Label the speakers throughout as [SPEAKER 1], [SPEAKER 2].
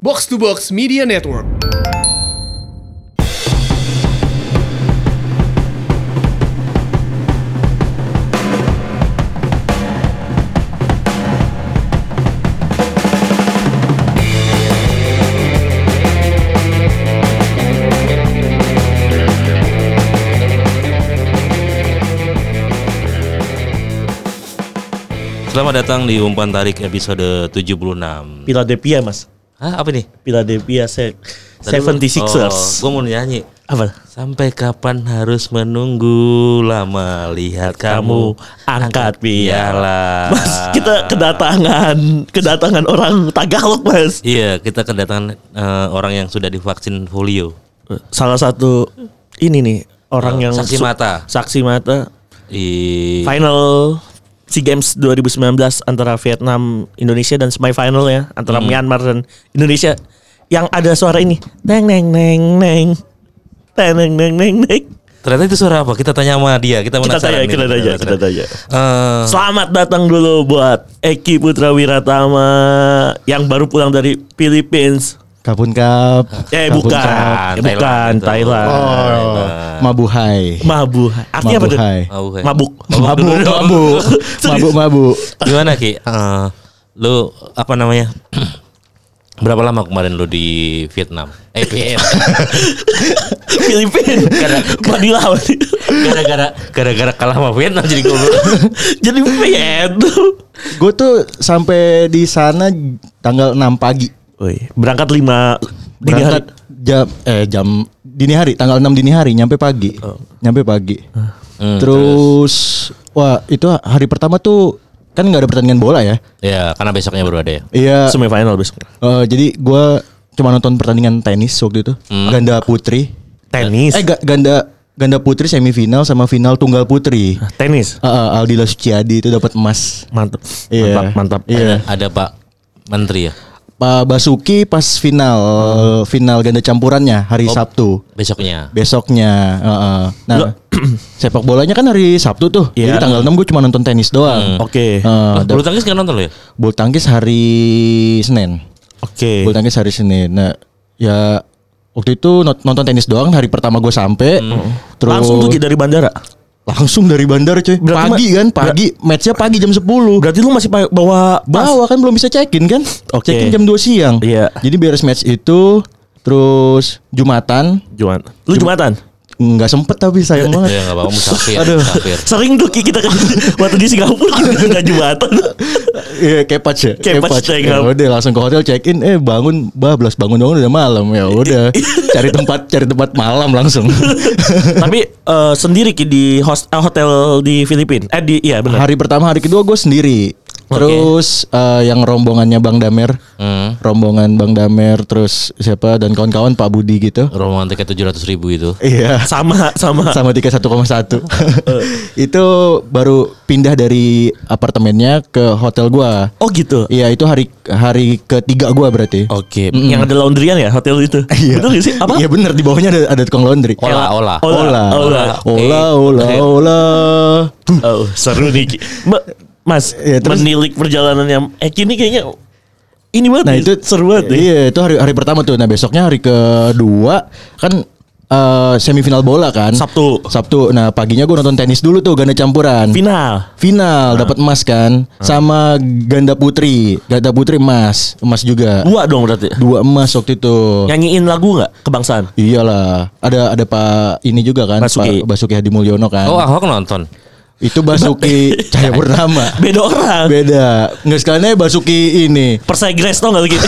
[SPEAKER 1] Box to Box Media Network.
[SPEAKER 2] Selamat datang di Umpan Tarik episode 76
[SPEAKER 3] Philadelphia mas
[SPEAKER 2] Hah
[SPEAKER 3] Ah,
[SPEAKER 2] apa nih?
[SPEAKER 3] Philadelphia se-
[SPEAKER 2] Tadi
[SPEAKER 3] 76ers
[SPEAKER 2] Oh, gue mau nyanyi
[SPEAKER 3] Apa?
[SPEAKER 2] Sampai kapan harus menunggu lama Lihat kamu,
[SPEAKER 3] Kamu
[SPEAKER 2] Iya.
[SPEAKER 3] angkat piala
[SPEAKER 2] Piala
[SPEAKER 3] Mas kita kedatangan Kedatangan orang Tagalog mas
[SPEAKER 2] Iya kita kedatangan eh, orang yang sudah divaksin polio
[SPEAKER 3] Salah satu Ini nih Orang
[SPEAKER 2] Eh,
[SPEAKER 3] yang
[SPEAKER 2] saksi
[SPEAKER 3] su-
[SPEAKER 2] mata. Iya.
[SPEAKER 3] Saksi mata
[SPEAKER 2] di
[SPEAKER 3] Final SEA Games 2019 Antara Vietnam Indonesia dan semifinal ya Antara
[SPEAKER 2] Hmm.
[SPEAKER 3] Myanmar dan Indonesia Yang ada suara ini Neng neng neng neng Neng neng neng neng neng
[SPEAKER 2] Ternyata itu suara apa? Kita tanya sama dia Kita
[SPEAKER 3] Kita
[SPEAKER 2] penasaran
[SPEAKER 3] tanya,
[SPEAKER 2] nih.
[SPEAKER 3] kita tanya, kita tanya
[SPEAKER 2] Eh,
[SPEAKER 3] Selamat datang dulu buat Eki Putra Wiratama yang baru pulang dari Philippines.
[SPEAKER 4] Kapun Kap.
[SPEAKER 3] Eh
[SPEAKER 4] Kapun
[SPEAKER 3] bukan,
[SPEAKER 4] Kap.
[SPEAKER 3] Eh, bukan
[SPEAKER 2] Thailand.
[SPEAKER 3] Thailand.
[SPEAKER 4] Oh, Mabuhay.
[SPEAKER 3] Mabuk. Artinya apa tuh? Oh,
[SPEAKER 4] Mabuhay.
[SPEAKER 2] Mabuk ya?
[SPEAKER 3] Mabuk.
[SPEAKER 4] Mabuk, mabuk, mabuk, mabuk.
[SPEAKER 2] Gimana Ki? Eh, lu apa namanya? Berapa lama kemarin lu di Vietnam? Eh, Vietnam.
[SPEAKER 3] Filipin. Manila.
[SPEAKER 2] gara-gara gara-gara kalah sama Vietnam jadi goblok.
[SPEAKER 3] Jadi Viet.
[SPEAKER 4] Gue tuh sampai di sana tanggal 6 pagi.
[SPEAKER 3] Woi, berangkat 5 dini hari.
[SPEAKER 4] Berangkat jam eh jam dini hari, tanggal 6 dini hari nyampe pagi.
[SPEAKER 3] Oh.
[SPEAKER 4] Nyampe pagi.
[SPEAKER 3] Ah.
[SPEAKER 2] Hmm,
[SPEAKER 4] terus, wah, itu hari pertama tuh kan nggak ada pertandingan bola ya.
[SPEAKER 2] ya, karena besoknya baru ada ya.
[SPEAKER 4] Iya.
[SPEAKER 3] Semifinal besok.
[SPEAKER 4] eh, jadi gua cuma nonton pertandingan tenis waktu itu.
[SPEAKER 3] Hmm.
[SPEAKER 4] Ganda putri.
[SPEAKER 3] Tenis.
[SPEAKER 4] Eh ga- ganda ganda putri semifinal sama final tunggal putri.
[SPEAKER 3] Tenis.
[SPEAKER 4] Ah, ah, Aldila Suciadi itu dapat emas.
[SPEAKER 3] Mantap.
[SPEAKER 4] Iya.
[SPEAKER 3] Mantap, mantap.
[SPEAKER 4] Iya.
[SPEAKER 2] Ada Pak Menteri ya.
[SPEAKER 4] Pak Basuki pas final
[SPEAKER 3] Hmm.
[SPEAKER 4] final ganda campurannya
[SPEAKER 3] Oh.
[SPEAKER 4] hari Sabtu
[SPEAKER 2] Besoknya.
[SPEAKER 4] besoknya. ah, ah. Nah, sepak bolanya kan hari Sabtu tuh.
[SPEAKER 3] Iya. Hmm.
[SPEAKER 4] Jadi tanggal 6 gue cuma nonton tenis doang.
[SPEAKER 3] Oke.
[SPEAKER 2] Lah,
[SPEAKER 4] Ah, ada
[SPEAKER 2] Bulu tangkis nggak nonton lo ya?
[SPEAKER 4] bulu tangkis hari Senin.
[SPEAKER 3] Oke.
[SPEAKER 4] Bulu tangkis hari Senin. Nah, ya waktu itu not- nonton tenis doang hari pertama gue sampai. Terus
[SPEAKER 3] Hmm. Langsung tuh Ki, dari bandara.
[SPEAKER 4] langsung dari bandara coy.
[SPEAKER 3] Berarti
[SPEAKER 4] pagi
[SPEAKER 3] ma-
[SPEAKER 4] kan, pagi. Matchnya pagi jam 10.
[SPEAKER 3] Berarti lu masih pa- bawa
[SPEAKER 4] bawa kan belum bisa check-in kan?
[SPEAKER 3] Oke.
[SPEAKER 4] Check-in jam 2 siang.
[SPEAKER 3] Iya.
[SPEAKER 4] Jadi beres match itu terus Jumatan
[SPEAKER 3] Jumat. Lu Jumatan?
[SPEAKER 4] nggak sempet tapi
[SPEAKER 2] Ya
[SPEAKER 3] Iya,
[SPEAKER 4] sayang banget.
[SPEAKER 2] nggak apa-apa musafir.
[SPEAKER 4] Aduh.
[SPEAKER 2] musafir.
[SPEAKER 3] Sering tuh Ki, kita kan waktu di Singapura kita nggak Jumatan.
[SPEAKER 4] Iya, kepatch ya.
[SPEAKER 3] Kepatch, check
[SPEAKER 4] Ya
[SPEAKER 3] out.
[SPEAKER 4] udah langsung ke hotel check-in eh bangun bah belas bangun bangun udah malam ya udah cari tempat cari tempat malam langsung.
[SPEAKER 3] Tapi eh, sendiri Ki di host, eh, hotel di Filipina. Eh di iya benar.
[SPEAKER 4] hari pertama hari kedua gue sendiri. Terus eh, yang rombongannya Bang Damer,
[SPEAKER 2] Hmm.
[SPEAKER 4] rombongan Bang Damer, terus siapa dan kawan-kawan Pak Budi gitu.
[SPEAKER 2] Rombongan tiket 700 ribu itu.
[SPEAKER 4] Iya.
[SPEAKER 3] Sama sama.
[SPEAKER 4] sama tiga satu itu baru pindah dari apartemennya ke hotel gua
[SPEAKER 3] Oh gitu.
[SPEAKER 4] iya itu hari hari ketiga gua berarti
[SPEAKER 2] Oke.
[SPEAKER 3] Yang ada laundryan ya hotel itu. Betul nggak sih? Apa?
[SPEAKER 4] iya bener di bawahnya ada, ada tukang laundry
[SPEAKER 2] Ola, ola.
[SPEAKER 3] Ola.
[SPEAKER 4] ola
[SPEAKER 3] Ola.
[SPEAKER 4] ola ola ola, ola.
[SPEAKER 3] Oh, seru nih. Ki. Ma- Mas,
[SPEAKER 4] Iya, terus-
[SPEAKER 3] menilik perjalanan yang eh ini kayaknya ini banget.
[SPEAKER 4] nah
[SPEAKER 3] nih,
[SPEAKER 4] itu
[SPEAKER 3] seru banget. nih.
[SPEAKER 4] iya itu hari hari pertama tuh nah besoknya hari kedua kan eh, semifinal bola kan
[SPEAKER 3] Sabtu.
[SPEAKER 4] Sabtu nah paginya gua nonton tenis dulu tuh ganda campuran
[SPEAKER 3] Final. Ah.
[SPEAKER 4] Final dapat emas kan sama ganda putri, ganda putri emas, emas juga.
[SPEAKER 3] Dua dong berarti.
[SPEAKER 4] Dua emas waktu itu.
[SPEAKER 3] Nyanyiin lagu nggak kebangsaan?
[SPEAKER 4] Iyalah, ada ada Pak ini juga kan,
[SPEAKER 3] Basuki. ah.
[SPEAKER 4] Pak Basuki Hadi Mulyono kan.
[SPEAKER 2] Oh, Ahok nonton.
[SPEAKER 4] Itu Basuki Cahaya Purnama.
[SPEAKER 3] Beda orang.
[SPEAKER 4] Beda. Nggak sekalian aja Basuki ini.
[SPEAKER 3] Persai Grace tau gak lagi?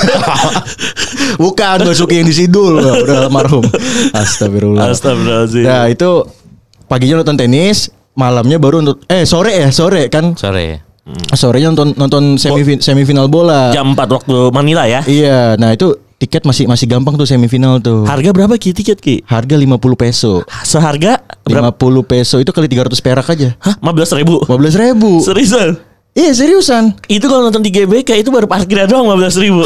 [SPEAKER 4] Bukan Basuki yang disidul, udah almarhum. Astagfirullah.
[SPEAKER 3] Astagfirullahaladzim.
[SPEAKER 4] Nah, itu paginya nonton tenis, malamnya baru untuk eh sore ya, sore kan.
[SPEAKER 2] Sore.
[SPEAKER 3] Hmm.
[SPEAKER 4] Sorenya nonton nonton semifin- semifinal bola.
[SPEAKER 3] Jam 4 waktu Manila ya.
[SPEAKER 4] Iya, nah itu tiket masih masih gampang tuh semifinal tuh.
[SPEAKER 3] Harga berapa Ki tiket Ki?
[SPEAKER 4] Harga 50 peso.
[SPEAKER 3] Seharga berapa?
[SPEAKER 4] 50 peso itu kali 300 perak aja.
[SPEAKER 3] Hah, 15 ribu.
[SPEAKER 4] 15 ribu.
[SPEAKER 3] Seriusan?
[SPEAKER 4] Iya seriusan.
[SPEAKER 3] Itu kalau nonton di GBK itu baru parkirnya doang 15 ribu.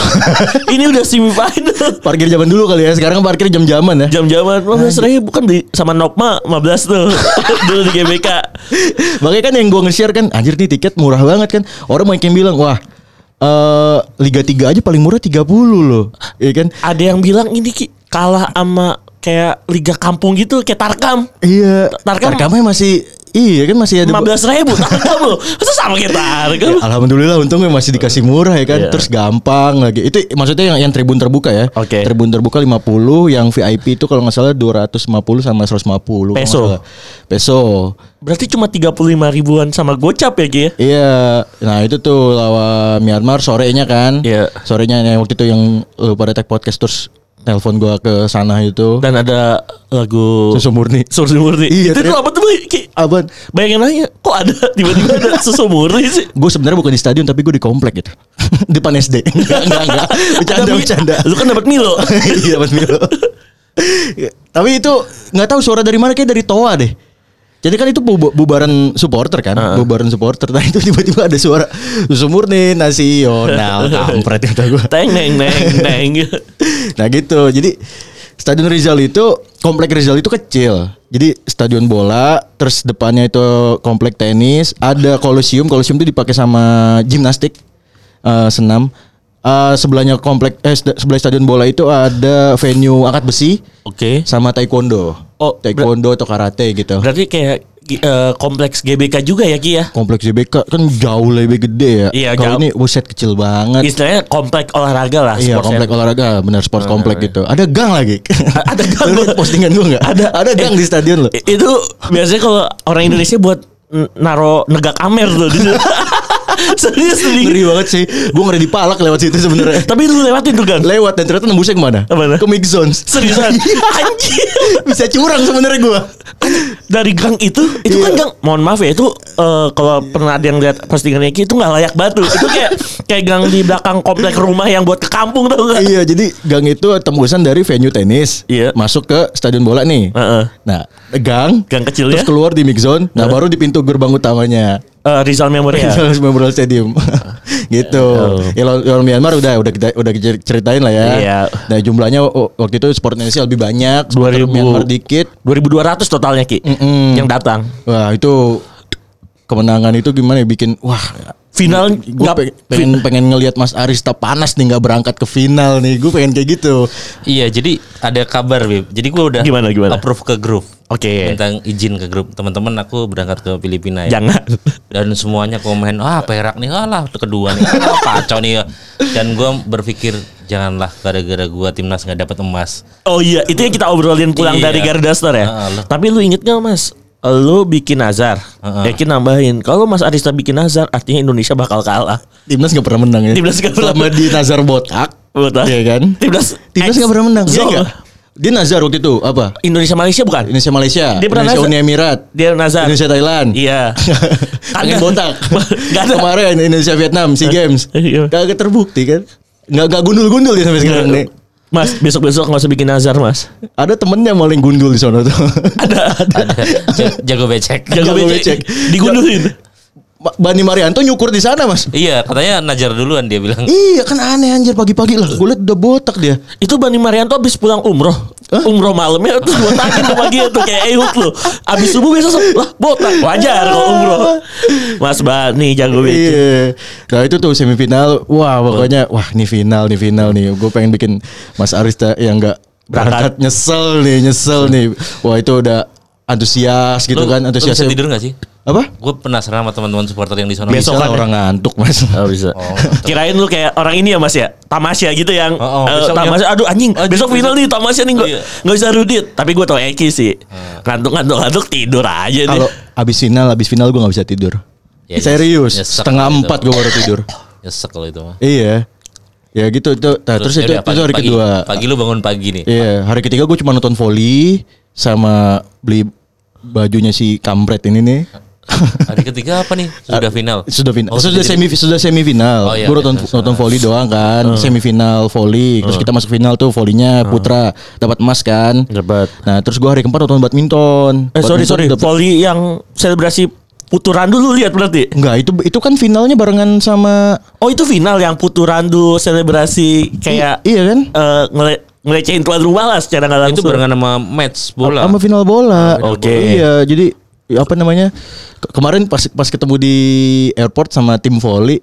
[SPEAKER 3] Ini udah semifinal.
[SPEAKER 4] Parkir zaman dulu kali ya. Sekarang parkir jam-jaman ya.
[SPEAKER 3] Jam-jaman 15 ribu kan di sama Nokma 15 tuh. Dulu di GBK.
[SPEAKER 4] Makanya kan yang gua nge-share kan anjir nih tiket murah banget kan. Orang makin bilang, "Wah, eh Liga 3 aja paling murah 30 loh. Iya kan?
[SPEAKER 3] Ada yang bilang ini Ki kalah sama kayak liga kampung gitu kayak Tarkam.
[SPEAKER 4] Iya.
[SPEAKER 3] Tarkam-
[SPEAKER 4] Tarkamnya masih iya kan masih ada Ya,
[SPEAKER 3] 15 ribu Tarkam loh. Itu sama kayak Tarkam.
[SPEAKER 4] Iya. Alhamdulillah untungnya masih dikasih murah ya kan.
[SPEAKER 3] Iya.
[SPEAKER 4] Terus gampang lagi. Itu maksudnya yang yang tribun terbuka ya.
[SPEAKER 3] Oke.
[SPEAKER 4] Tribun terbuka 50, yang VIP itu kalau nggak salah 250 sama 150. kalau nggak
[SPEAKER 3] Peso.
[SPEAKER 4] salah. Peso.
[SPEAKER 3] Berarti cuma 35 ribuan sama gocap ya Ki ya?
[SPEAKER 4] Iya. Nah, itu tuh lawan Myanmar sorenya kan.
[SPEAKER 3] Iya.
[SPEAKER 4] Sorenya yang waktu itu yang lu pada tag podcast terus telepon gua ke sana itu.
[SPEAKER 3] Dan ada lagu
[SPEAKER 4] Susu murni.
[SPEAKER 3] Susu Murni.
[SPEAKER 4] Iya,
[SPEAKER 3] itu tuh
[SPEAKER 4] ternyata-
[SPEAKER 3] apa tuh Ki?
[SPEAKER 4] Abang,
[SPEAKER 3] Bayangin aja kok ada tiba-tiba ada Susu Murni sih?
[SPEAKER 4] gue sebenarnya bukan di stadion tapi gue di komplek gitu. Depan SD. Enggak, enggak, enggak. Bercanda,
[SPEAKER 3] Ada Mi-
[SPEAKER 4] bercanda.
[SPEAKER 3] Lu kan dapat Milo.
[SPEAKER 4] Iya Mas Milo. Tapi itu nggak tahu suara dari mana kayak dari Toa deh. Jadi kan itu bu- bubaran supporter kan, bubaran supporter. Nah itu tiba-tiba ada suara susu murni nasional, kampret kata gua.
[SPEAKER 3] Teng neng neng neng.
[SPEAKER 4] Nah gitu. Jadi Stadion Rizal itu komplek Rizal itu kecil. Jadi stadion bola, terus depannya itu komplek tenis, ada kolosium. Kolosium itu dipakai sama gimnastik eh, senam. Eh, sebelahnya komplek eh sed- sebelah stadion bola itu ada venue angkat besi
[SPEAKER 3] Oke.
[SPEAKER 4] sama taekwondo.
[SPEAKER 3] Oh, ber-
[SPEAKER 4] taekwondo atau karate gitu.
[SPEAKER 3] Berarti kayak eh, kompleks GBK juga ya Ki ya?
[SPEAKER 4] Kompleks JBK kan jauh lebih gede ya.
[SPEAKER 3] Iya, jauh.
[SPEAKER 4] Kalau ini buset kecil banget.
[SPEAKER 3] Istilahnya komplek olahraga lah
[SPEAKER 4] Iya
[SPEAKER 3] sports
[SPEAKER 4] komplek olahraga benar sport komplek gitu. Ada gang lagi.
[SPEAKER 3] ada gang.
[SPEAKER 4] Lu liat postingan gua nggak?
[SPEAKER 3] Ada.
[SPEAKER 4] ada gang di stadion lo.
[SPEAKER 3] I- Itu biasanya kalau orang Indonesia buat n- naro negak amer tuh di situ. Serius tuh, Ding.
[SPEAKER 4] Ngeri banget sih. Gua ngeri dipalak lewat situ sebenarnya.
[SPEAKER 3] Tapi lu lewatin tuh gang.
[SPEAKER 4] lewat dan ternyata nembusnya kemana?
[SPEAKER 3] Kemana?
[SPEAKER 4] Ke mid zones.
[SPEAKER 3] Seriusan.
[SPEAKER 4] Iya.
[SPEAKER 3] Anjir.
[SPEAKER 4] Bisa curang sebenarnya gua.
[SPEAKER 3] Dari gang itu, itu kan
[SPEAKER 4] Iya.
[SPEAKER 3] gang. Mohon maaf ya, itu eh, kalau pernah ada yang lihat postingannya Ki itu nggak layak batu. Itu kayak kayak gang di belakang komplek rumah yang buat ke kampung tau nggak?
[SPEAKER 4] iya, jadi gang itu tembusan dari venue tenis.
[SPEAKER 3] Iya.
[SPEAKER 4] Masuk ke stadion bola nih.
[SPEAKER 3] Heeh.
[SPEAKER 4] Nah, gang ya?
[SPEAKER 3] Gang kecilnya.
[SPEAKER 4] terus keluar di mid zone. Nah, baru di pintu gerbang utamanya.
[SPEAKER 3] Eh, Rizal Memorial.
[SPEAKER 4] Harus Memorial Stadium. gitu. Ya lawan lawan Myanmar udah udah kita udah kita ceritain lah ya.
[SPEAKER 3] Iya.
[SPEAKER 4] Nah, jumlahnya w- waktu itu sport Indonesia lebih banyak, supporter
[SPEAKER 3] 2000.
[SPEAKER 4] Myanmar dikit.
[SPEAKER 3] 2200 totalnya Ki
[SPEAKER 4] Mm-mm.
[SPEAKER 3] yang datang.
[SPEAKER 4] Wah, itu kemenangan itu gimana ya bikin wah
[SPEAKER 3] Final
[SPEAKER 4] gue
[SPEAKER 3] nggak
[SPEAKER 4] pengen pengen ngelihat Mas Aris tetap panas nih nggak berangkat ke final nih gue pengen kayak gitu
[SPEAKER 2] Iya, jadi ada kabar, Bib. Jadi gua udah
[SPEAKER 3] Gimana, gimana?
[SPEAKER 2] approve ke grup.
[SPEAKER 3] Oke.
[SPEAKER 2] Minta izin ke grup. Teman-teman aku berangkat ke Filipina ya.
[SPEAKER 3] Jangan.
[SPEAKER 2] Dan semuanya komen, "Ah, perak nih, alah kedua nih, ah, kacau nih." ya." Dan gua berpikir, janganlah gara-gara gua timnas nggak dapat emas.
[SPEAKER 3] Oh iya, itu yang kita obrolin pulang
[SPEAKER 2] Iya.
[SPEAKER 3] dari Garuda Store ya.
[SPEAKER 2] Ah, lu-
[SPEAKER 3] Tapi lu inget gak mas? Lu bikin azar,
[SPEAKER 4] Ah,
[SPEAKER 2] Heeh.
[SPEAKER 3] Yakin nambahin. Kalau Mas Arista bikin azar, artinya Indonesia bakal kalah.
[SPEAKER 4] timnas nggak pernah menang ya
[SPEAKER 3] Timnas nggak pernah
[SPEAKER 4] Selama di Nazar botak
[SPEAKER 3] Betul.
[SPEAKER 4] Iya kan
[SPEAKER 3] Timnas
[SPEAKER 4] timnas nggak pernah menang
[SPEAKER 3] Zol.
[SPEAKER 4] iya nggak? dia Nazar waktu itu apa
[SPEAKER 3] Indonesia Malaysia bukan?
[SPEAKER 4] Indonesia Malaysia
[SPEAKER 3] Dia pernah
[SPEAKER 4] Indonesia
[SPEAKER 3] Nazar.
[SPEAKER 4] Uni Emirat
[SPEAKER 3] Dia Nazar.
[SPEAKER 4] Indonesia Thailand
[SPEAKER 3] Iya.
[SPEAKER 4] pengen botak
[SPEAKER 3] Nggak ada.
[SPEAKER 4] kemarin Indonesia Vietnam Sea Games
[SPEAKER 3] Iya.
[SPEAKER 4] kagak terbukti kan nggak nggak gundul-gundul dia sampai sekarang nih
[SPEAKER 3] Mas, besok-besok nggak usah bikin azar, Mas.
[SPEAKER 4] ada temennya maling gundul di sana tuh
[SPEAKER 3] Ada.
[SPEAKER 2] Ada ja- jago becek.
[SPEAKER 3] Jago
[SPEAKER 4] Jago becek.
[SPEAKER 3] becek. Digundulin.
[SPEAKER 4] Ba- Bani Marianto nyukur di sana mas
[SPEAKER 2] Iya, katanya najar duluan dia bilang.
[SPEAKER 4] Iya kan aneh anjir pagi-pagi lah gue liat udah botak dia
[SPEAKER 3] Itu Bani Marianto abis pulang umroh Umroh malamnya tuh botakin tuh pagi tuh Kayak Ehud lu Abis subuh biasa se- Lah botak Wajar kalau umroh Mas Bani jago becek
[SPEAKER 4] Iya Nah itu tuh semifinal Wah pokoknya
[SPEAKER 3] Oh.
[SPEAKER 4] Wah ini final nih final nih Gue pengen bikin Mas Arista yang gak
[SPEAKER 3] Berangkat. Iya.
[SPEAKER 4] Berangkat Nyesel nih Nyesel nih Wah itu udah Antusias gitu
[SPEAKER 2] Lu-
[SPEAKER 4] kan
[SPEAKER 2] lu
[SPEAKER 4] Antusias
[SPEAKER 2] bisa tidur gak sih?
[SPEAKER 4] Apa?
[SPEAKER 2] Gue penasaran sama teman-teman supporter yang di sana.
[SPEAKER 4] Bisa
[SPEAKER 3] Besok
[SPEAKER 4] lah
[SPEAKER 3] kan ya?
[SPEAKER 4] orang ngantuk mas
[SPEAKER 3] Oh bisa Kirain lu kayak orang ini ya mas ya Tamasya gitu yang
[SPEAKER 2] Oh, oh,
[SPEAKER 3] eh,
[SPEAKER 2] besoknya-
[SPEAKER 3] Tamasya Aduh anjing
[SPEAKER 2] Anjing,
[SPEAKER 3] Besok final nih Tamasya nih Gak,
[SPEAKER 2] Iya. Hmm.
[SPEAKER 3] nggak bisa rudit Tapi gue tau Eki sih Ngantuk-ngantuk-ngantuk tidur aja nih
[SPEAKER 4] Kalau abis final Abis final gue gak bisa tidur
[SPEAKER 2] Ya, nyes-
[SPEAKER 4] Serius
[SPEAKER 2] nyesek
[SPEAKER 4] Setengah
[SPEAKER 2] gitu.
[SPEAKER 4] empat gue baru tidur
[SPEAKER 2] Nyesek kalau itu mah.
[SPEAKER 4] Iya Ya gitu itu. Nah, terus, itu,
[SPEAKER 2] yaudah,
[SPEAKER 4] itu hari
[SPEAKER 2] pagi,
[SPEAKER 4] kedua
[SPEAKER 2] Pagi lu bangun pagi nih.
[SPEAKER 4] Iya, hari ketiga gue cuma nonton volley sama beli bajunya si Kamret ini nih.
[SPEAKER 2] Hari ketiga apa nih? Sudah final.
[SPEAKER 4] Ah, Sudah final.
[SPEAKER 2] Oh,
[SPEAKER 4] sudah
[SPEAKER 2] jadi-
[SPEAKER 4] semi sudah
[SPEAKER 2] Oh,
[SPEAKER 4] semifinal.
[SPEAKER 2] iya,
[SPEAKER 4] gue
[SPEAKER 2] iya,
[SPEAKER 4] nonton
[SPEAKER 2] terus,
[SPEAKER 4] nonton volley doang kan, semifinal volley. Terus kita masuk final tuh volleynya Putra dapat emas kan.
[SPEAKER 3] Dapat.
[SPEAKER 4] Nah, terus gue hari keempat nonton badminton.
[SPEAKER 3] Eh sorry
[SPEAKER 4] Badminton
[SPEAKER 3] sorry
[SPEAKER 4] dapet-
[SPEAKER 3] Poli yang selebrasi Puturandu lu lihat berarti
[SPEAKER 4] Enggak, itu itu kan finalnya barengan sama
[SPEAKER 3] Oh itu final yang Puturandu selebrasi kayak
[SPEAKER 4] I- iya kan?
[SPEAKER 3] eh, ngele- ngelecehin tuan rumah lah secara nggak
[SPEAKER 2] itu
[SPEAKER 3] langsung.
[SPEAKER 2] barengan sama match bola.
[SPEAKER 4] sama final bola.
[SPEAKER 3] Sama Ah. final Oke. bola.
[SPEAKER 4] Iya, jadi apa namanya? ke- Kemarin pas pas ketemu di airport sama tim volley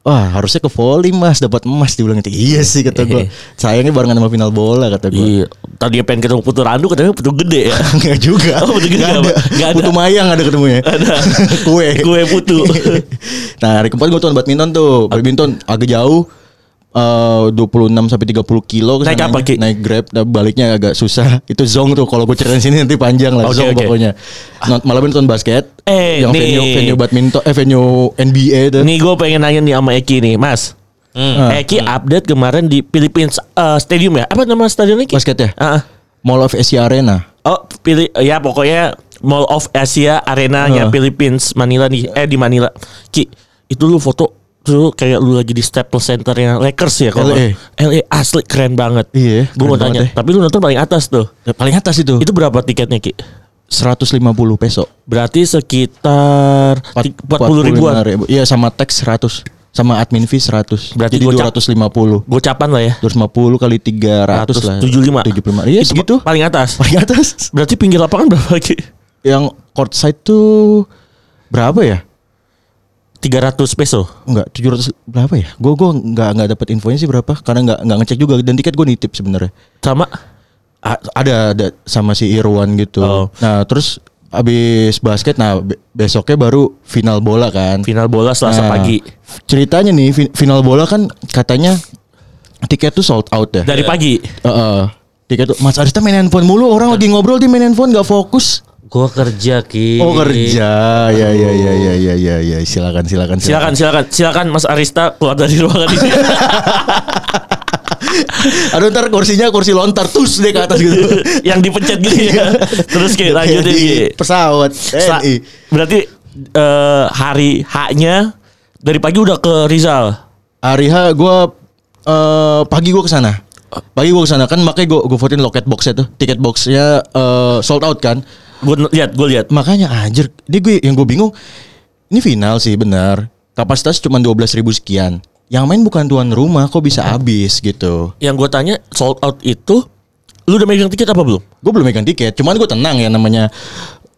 [SPEAKER 4] Wah harusnya ke volley mas dapat emas diulang itu iya sih kata gue sayangnya barengan sama final bola kata gue
[SPEAKER 3] Iya. Tadi dia pengen ketemu Putu Randu katanya Putu gede ya.
[SPEAKER 4] Enggak juga
[SPEAKER 3] Oh, betul juga
[SPEAKER 4] Nggak
[SPEAKER 3] apa?
[SPEAKER 4] ada.
[SPEAKER 3] Nggak ada.
[SPEAKER 4] Putu mayang ada ketemunya
[SPEAKER 3] Ada.
[SPEAKER 4] Kue
[SPEAKER 3] Kue putu.
[SPEAKER 4] Nah hari keempat gue tuh badminton tuh Badminton agak jauh eh 26 sampai 30 kilo
[SPEAKER 3] Naik
[SPEAKER 4] kesananya.
[SPEAKER 3] apa, Ki?
[SPEAKER 4] Naik grab dan baliknya agak susah Itu zong tuh Kalau gue ceritain sini nanti panjang lah
[SPEAKER 3] Oke,
[SPEAKER 4] Zong
[SPEAKER 3] Oh, oke. Ah.
[SPEAKER 4] pokoknya Not, Malam nonton basket
[SPEAKER 3] Eh,
[SPEAKER 4] Yang
[SPEAKER 3] nih.
[SPEAKER 4] venue, venue badminton Eh venue NBA tuh
[SPEAKER 3] Nih gue pengen nanya nih sama Eki nih, Mas. Eh,
[SPEAKER 2] Hmm.
[SPEAKER 3] Eki update kemarin di Philippines eh, Stadium ya? Apa nama stadion Eki?
[SPEAKER 4] Basket ya
[SPEAKER 3] Heeh.
[SPEAKER 4] Mall of Asia Arena
[SPEAKER 3] Oh, pilih ya pokoknya Mall of Asia arenanya
[SPEAKER 4] Heeh.
[SPEAKER 3] Philippines Manila nih. Eh di Manila. Ki, itu lu foto tuh kayak lu lagi di Staples Center yang Lakers ya kalau
[SPEAKER 4] LA.
[SPEAKER 3] LA asli keren banget.
[SPEAKER 4] Iya,
[SPEAKER 3] Gue mau
[SPEAKER 4] keren
[SPEAKER 3] tanya,
[SPEAKER 4] banget ya.
[SPEAKER 3] tapi lu nonton paling atas tuh.
[SPEAKER 4] Paling atas itu
[SPEAKER 3] Itu berapa tiketnya Ki?
[SPEAKER 4] 150 peso
[SPEAKER 3] Berarti sekitar ti- 40 ribuan.
[SPEAKER 4] 45 ribu. Iya sama tax 100 sama admin fee 100.
[SPEAKER 3] Berarti
[SPEAKER 4] Jadi
[SPEAKER 3] gocap.
[SPEAKER 4] 250.
[SPEAKER 3] Gocapan lah ya.
[SPEAKER 4] 250 kali 300 lah.
[SPEAKER 3] 175.
[SPEAKER 4] 75. Iya
[SPEAKER 3] Itu
[SPEAKER 4] segitu.
[SPEAKER 3] pa- Paling atas.
[SPEAKER 4] Paling atas.
[SPEAKER 3] Berarti pinggir lapangan berapa Ki?
[SPEAKER 4] Yang court side tuh berapa ya?
[SPEAKER 3] 300 peso.
[SPEAKER 4] Enggak, 700 berapa ya? Gue gua enggak enggak dapat infonya sih berapa karena enggak enggak ngecek juga dan tiket gue nitip sebenarnya.
[SPEAKER 3] Sama
[SPEAKER 4] A- ada ada sama si Irwan gitu.
[SPEAKER 3] Oh.
[SPEAKER 4] Nah, terus abis basket nah be- besoknya baru final bola kan.
[SPEAKER 3] final bola Selasa
[SPEAKER 4] Nah,
[SPEAKER 3] pagi.
[SPEAKER 4] Ceritanya nih fin- final bola kan katanya tiket tuh sold out ya.
[SPEAKER 3] Dari pagi.
[SPEAKER 4] Heeh. tiket tuh Mas Arista main handphone mulu, orang lagi ngobrol dia main handphone gak fokus.
[SPEAKER 2] Gua kerja
[SPEAKER 3] Iya.
[SPEAKER 2] ki.
[SPEAKER 4] Oh kerja. Ya ya ya ya ya ya ya silakan silakan
[SPEAKER 3] Silakan, silakan, silakan Mas Arista keluar dari ruangan ini.
[SPEAKER 4] Aduh ntar kursinya kursi lontar tus deh ke atas gitu.
[SPEAKER 3] yang dipencet gitu ya. Terus kayak lanjutin
[SPEAKER 4] Di
[SPEAKER 3] Ki.
[SPEAKER 4] pesawat
[SPEAKER 3] Sa-
[SPEAKER 4] TNI.
[SPEAKER 3] Berarti eh, hari H-nya dari pagi udah ke Rizal.
[SPEAKER 4] Hari H gue eh, pagi gue kesana. Pagi gue kesana kan makanya gue gue votein loket boxnya tuh tiket boxnya eh, sold out kan.
[SPEAKER 3] Gue lihat, gue lihat.
[SPEAKER 4] Makanya anjir, ini gue yang gue bingung. Ini final sih benar. Kapasitas cuma 12.000 sekian. Yang main bukan tuan rumah, kok bisa habis gitu.
[SPEAKER 3] Yang gue tanya sold out itu lu udah megang tiket apa belum?
[SPEAKER 4] Gue belum megang tiket, cuman gue tenang ya namanya.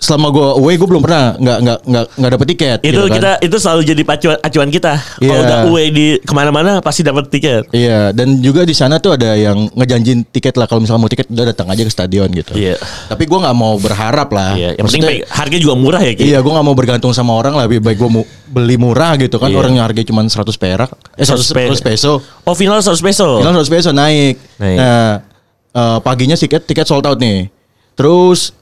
[SPEAKER 4] Selama gue away gue belum pernah nggak nggak nggak nggak dapet tiket.
[SPEAKER 3] Itu
[SPEAKER 4] gitu kan.
[SPEAKER 3] kita itu selalu jadi pacuan acuan kita. Kalau
[SPEAKER 4] Iya.
[SPEAKER 3] udah away di kemana-mana pasti dapat tiket.
[SPEAKER 4] Iya, dan juga di sana tuh ada yang ngejanjin tiket lah kalau misalnya mau tiket udah datang aja ke stadion gitu.
[SPEAKER 3] Iya.
[SPEAKER 4] Tapi gue nggak mau berharap lah.
[SPEAKER 3] Iya, yang penting
[SPEAKER 4] Ah, Maksudnya-
[SPEAKER 3] pe- harga juga murah ya, Ki.
[SPEAKER 4] Iya, gue nggak mau bergantung sama orang lah. Lebih baik gue mu- beli murah gitu kan.
[SPEAKER 3] Iya.
[SPEAKER 4] Orang yang harganya cuma 100 perak, eh 100,
[SPEAKER 3] 100
[SPEAKER 4] 100 peso.
[SPEAKER 3] Oh, final 100 peso.
[SPEAKER 4] Hilang 100 peso naik.
[SPEAKER 3] Naik.
[SPEAKER 4] Nah, eh, paginya tiket tiket sold out nih. Terus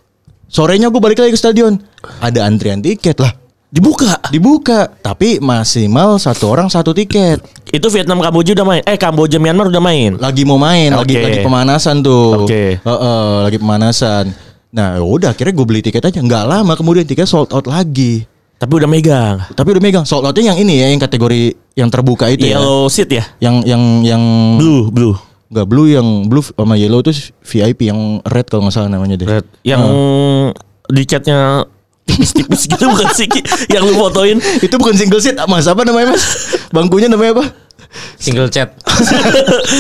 [SPEAKER 4] sorenya gue balik lagi ke stadion. Ada antrian tiket lah.
[SPEAKER 3] Dibuka.
[SPEAKER 4] Dibuka, tapi maksimal satu orang satu tiket.
[SPEAKER 3] Itu Vietnam Kamboja udah main. Eh, Kamboja Myanmar udah main.
[SPEAKER 4] Lagi mau main, lagi
[SPEAKER 3] Oke.
[SPEAKER 4] lagi pemanasan tuh.
[SPEAKER 3] Oke.
[SPEAKER 4] Heeh, lagi pemanasan. Nah, udah akhirnya gue beli tiket aja. Nggak lama kemudian tiket sold out lagi.
[SPEAKER 3] Tapi udah megang.
[SPEAKER 4] Tapi udah megang sold outnya yang ini ya, yang kategori yang terbuka itu ya.
[SPEAKER 3] Yellow seat ya?
[SPEAKER 4] Yang yang yang
[SPEAKER 3] Blue, blue.
[SPEAKER 4] Enggak blue yang blue sama yellow tuh VIP yang red kalau nggak salah namanya deh.
[SPEAKER 3] Yang
[SPEAKER 4] Hmm.
[SPEAKER 3] di catnya tipis-tipis gitu bukan sih Ki? yang lu fotoin
[SPEAKER 4] Itu bukan single seat, Mas. Apa namanya, Mas? Bangkunya namanya apa?
[SPEAKER 2] Single chat.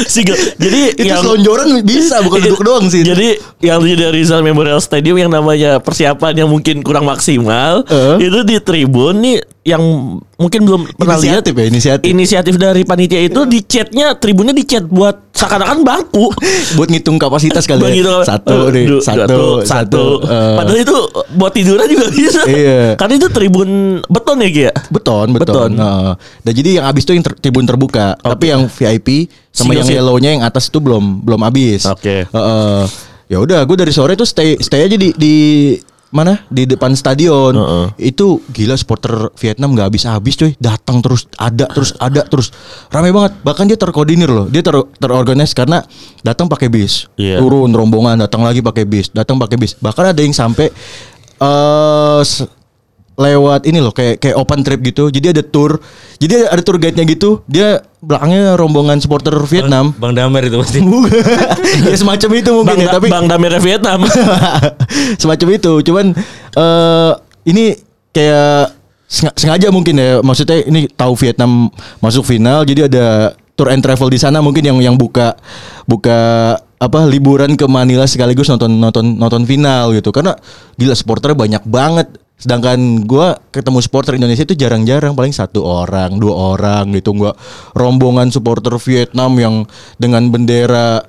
[SPEAKER 3] single. Jadi
[SPEAKER 4] Itu selonjoran bisa, bukan duduk doang sih.
[SPEAKER 3] Jadi yang di dari Rizal Memorial Stadium yang namanya persiapan yang mungkin kurang maksimal
[SPEAKER 4] Eh.
[SPEAKER 3] itu di tribun nih yang mungkin belum pernah lihat
[SPEAKER 4] Inisiatif ya, inisiatif. Iya.
[SPEAKER 3] inisiatif dari panitia itu di chatnya tribunnya di chat buat seakan-akan bangku
[SPEAKER 4] buat ngitung kapasitas kali
[SPEAKER 3] Bagi
[SPEAKER 4] ya.
[SPEAKER 3] dong.
[SPEAKER 4] Satu
[SPEAKER 3] Du-
[SPEAKER 4] nih, satu,
[SPEAKER 3] satu, satu.
[SPEAKER 4] eh.
[SPEAKER 3] Padahal itu buat tiduran juga bisa.
[SPEAKER 4] Iya.
[SPEAKER 3] Karena itu tribun beton ya, Gia?
[SPEAKER 4] Beton, beton.
[SPEAKER 3] Beton.
[SPEAKER 4] Heeh. Dan jadi yang habis itu yang ter- tribun terbuka, tapi yang VIP
[SPEAKER 3] Single
[SPEAKER 4] sama yang
[SPEAKER 3] seat.
[SPEAKER 4] yellownya yang atas itu belum belum habis.
[SPEAKER 3] Oke.
[SPEAKER 4] Heeh. ya udah, gue dari sore tuh stay stay aja di di mana di depan stadion
[SPEAKER 3] Heeh.
[SPEAKER 4] itu gila supporter Vietnam nggak habis-habis cuy datang terus ada terus ada terus ramai banget bahkan dia terkoordinir loh dia ter terorganize karena datang pakai bis
[SPEAKER 3] Iya.
[SPEAKER 4] turun rombongan datang lagi pakai bis datang pakai bis bahkan ada yang sampai eh s- lewat ini loh kayak kayak open trip gitu jadi ada tour jadi ada, ada tour guide nya gitu dia belakangnya rombongan supporter Vietnam
[SPEAKER 2] Bang Damer itu pasti.
[SPEAKER 4] ya semacam itu
[SPEAKER 3] Bang,
[SPEAKER 4] mungkin ya, tapi
[SPEAKER 3] Bang Damir Vietnam.
[SPEAKER 4] semacam itu cuman eh ini kayak senga- sengaja mungkin ya maksudnya ini tahu Vietnam masuk final jadi ada tour and travel di sana mungkin yang yang buka buka apa liburan ke Manila sekaligus nonton nonton nonton final gitu karena gila supporternya banyak banget Sedangkan gua ketemu supporter Indonesia itu jarang-jarang paling satu orang, dua orang gitu. Gua rombongan supporter Vietnam yang dengan bendera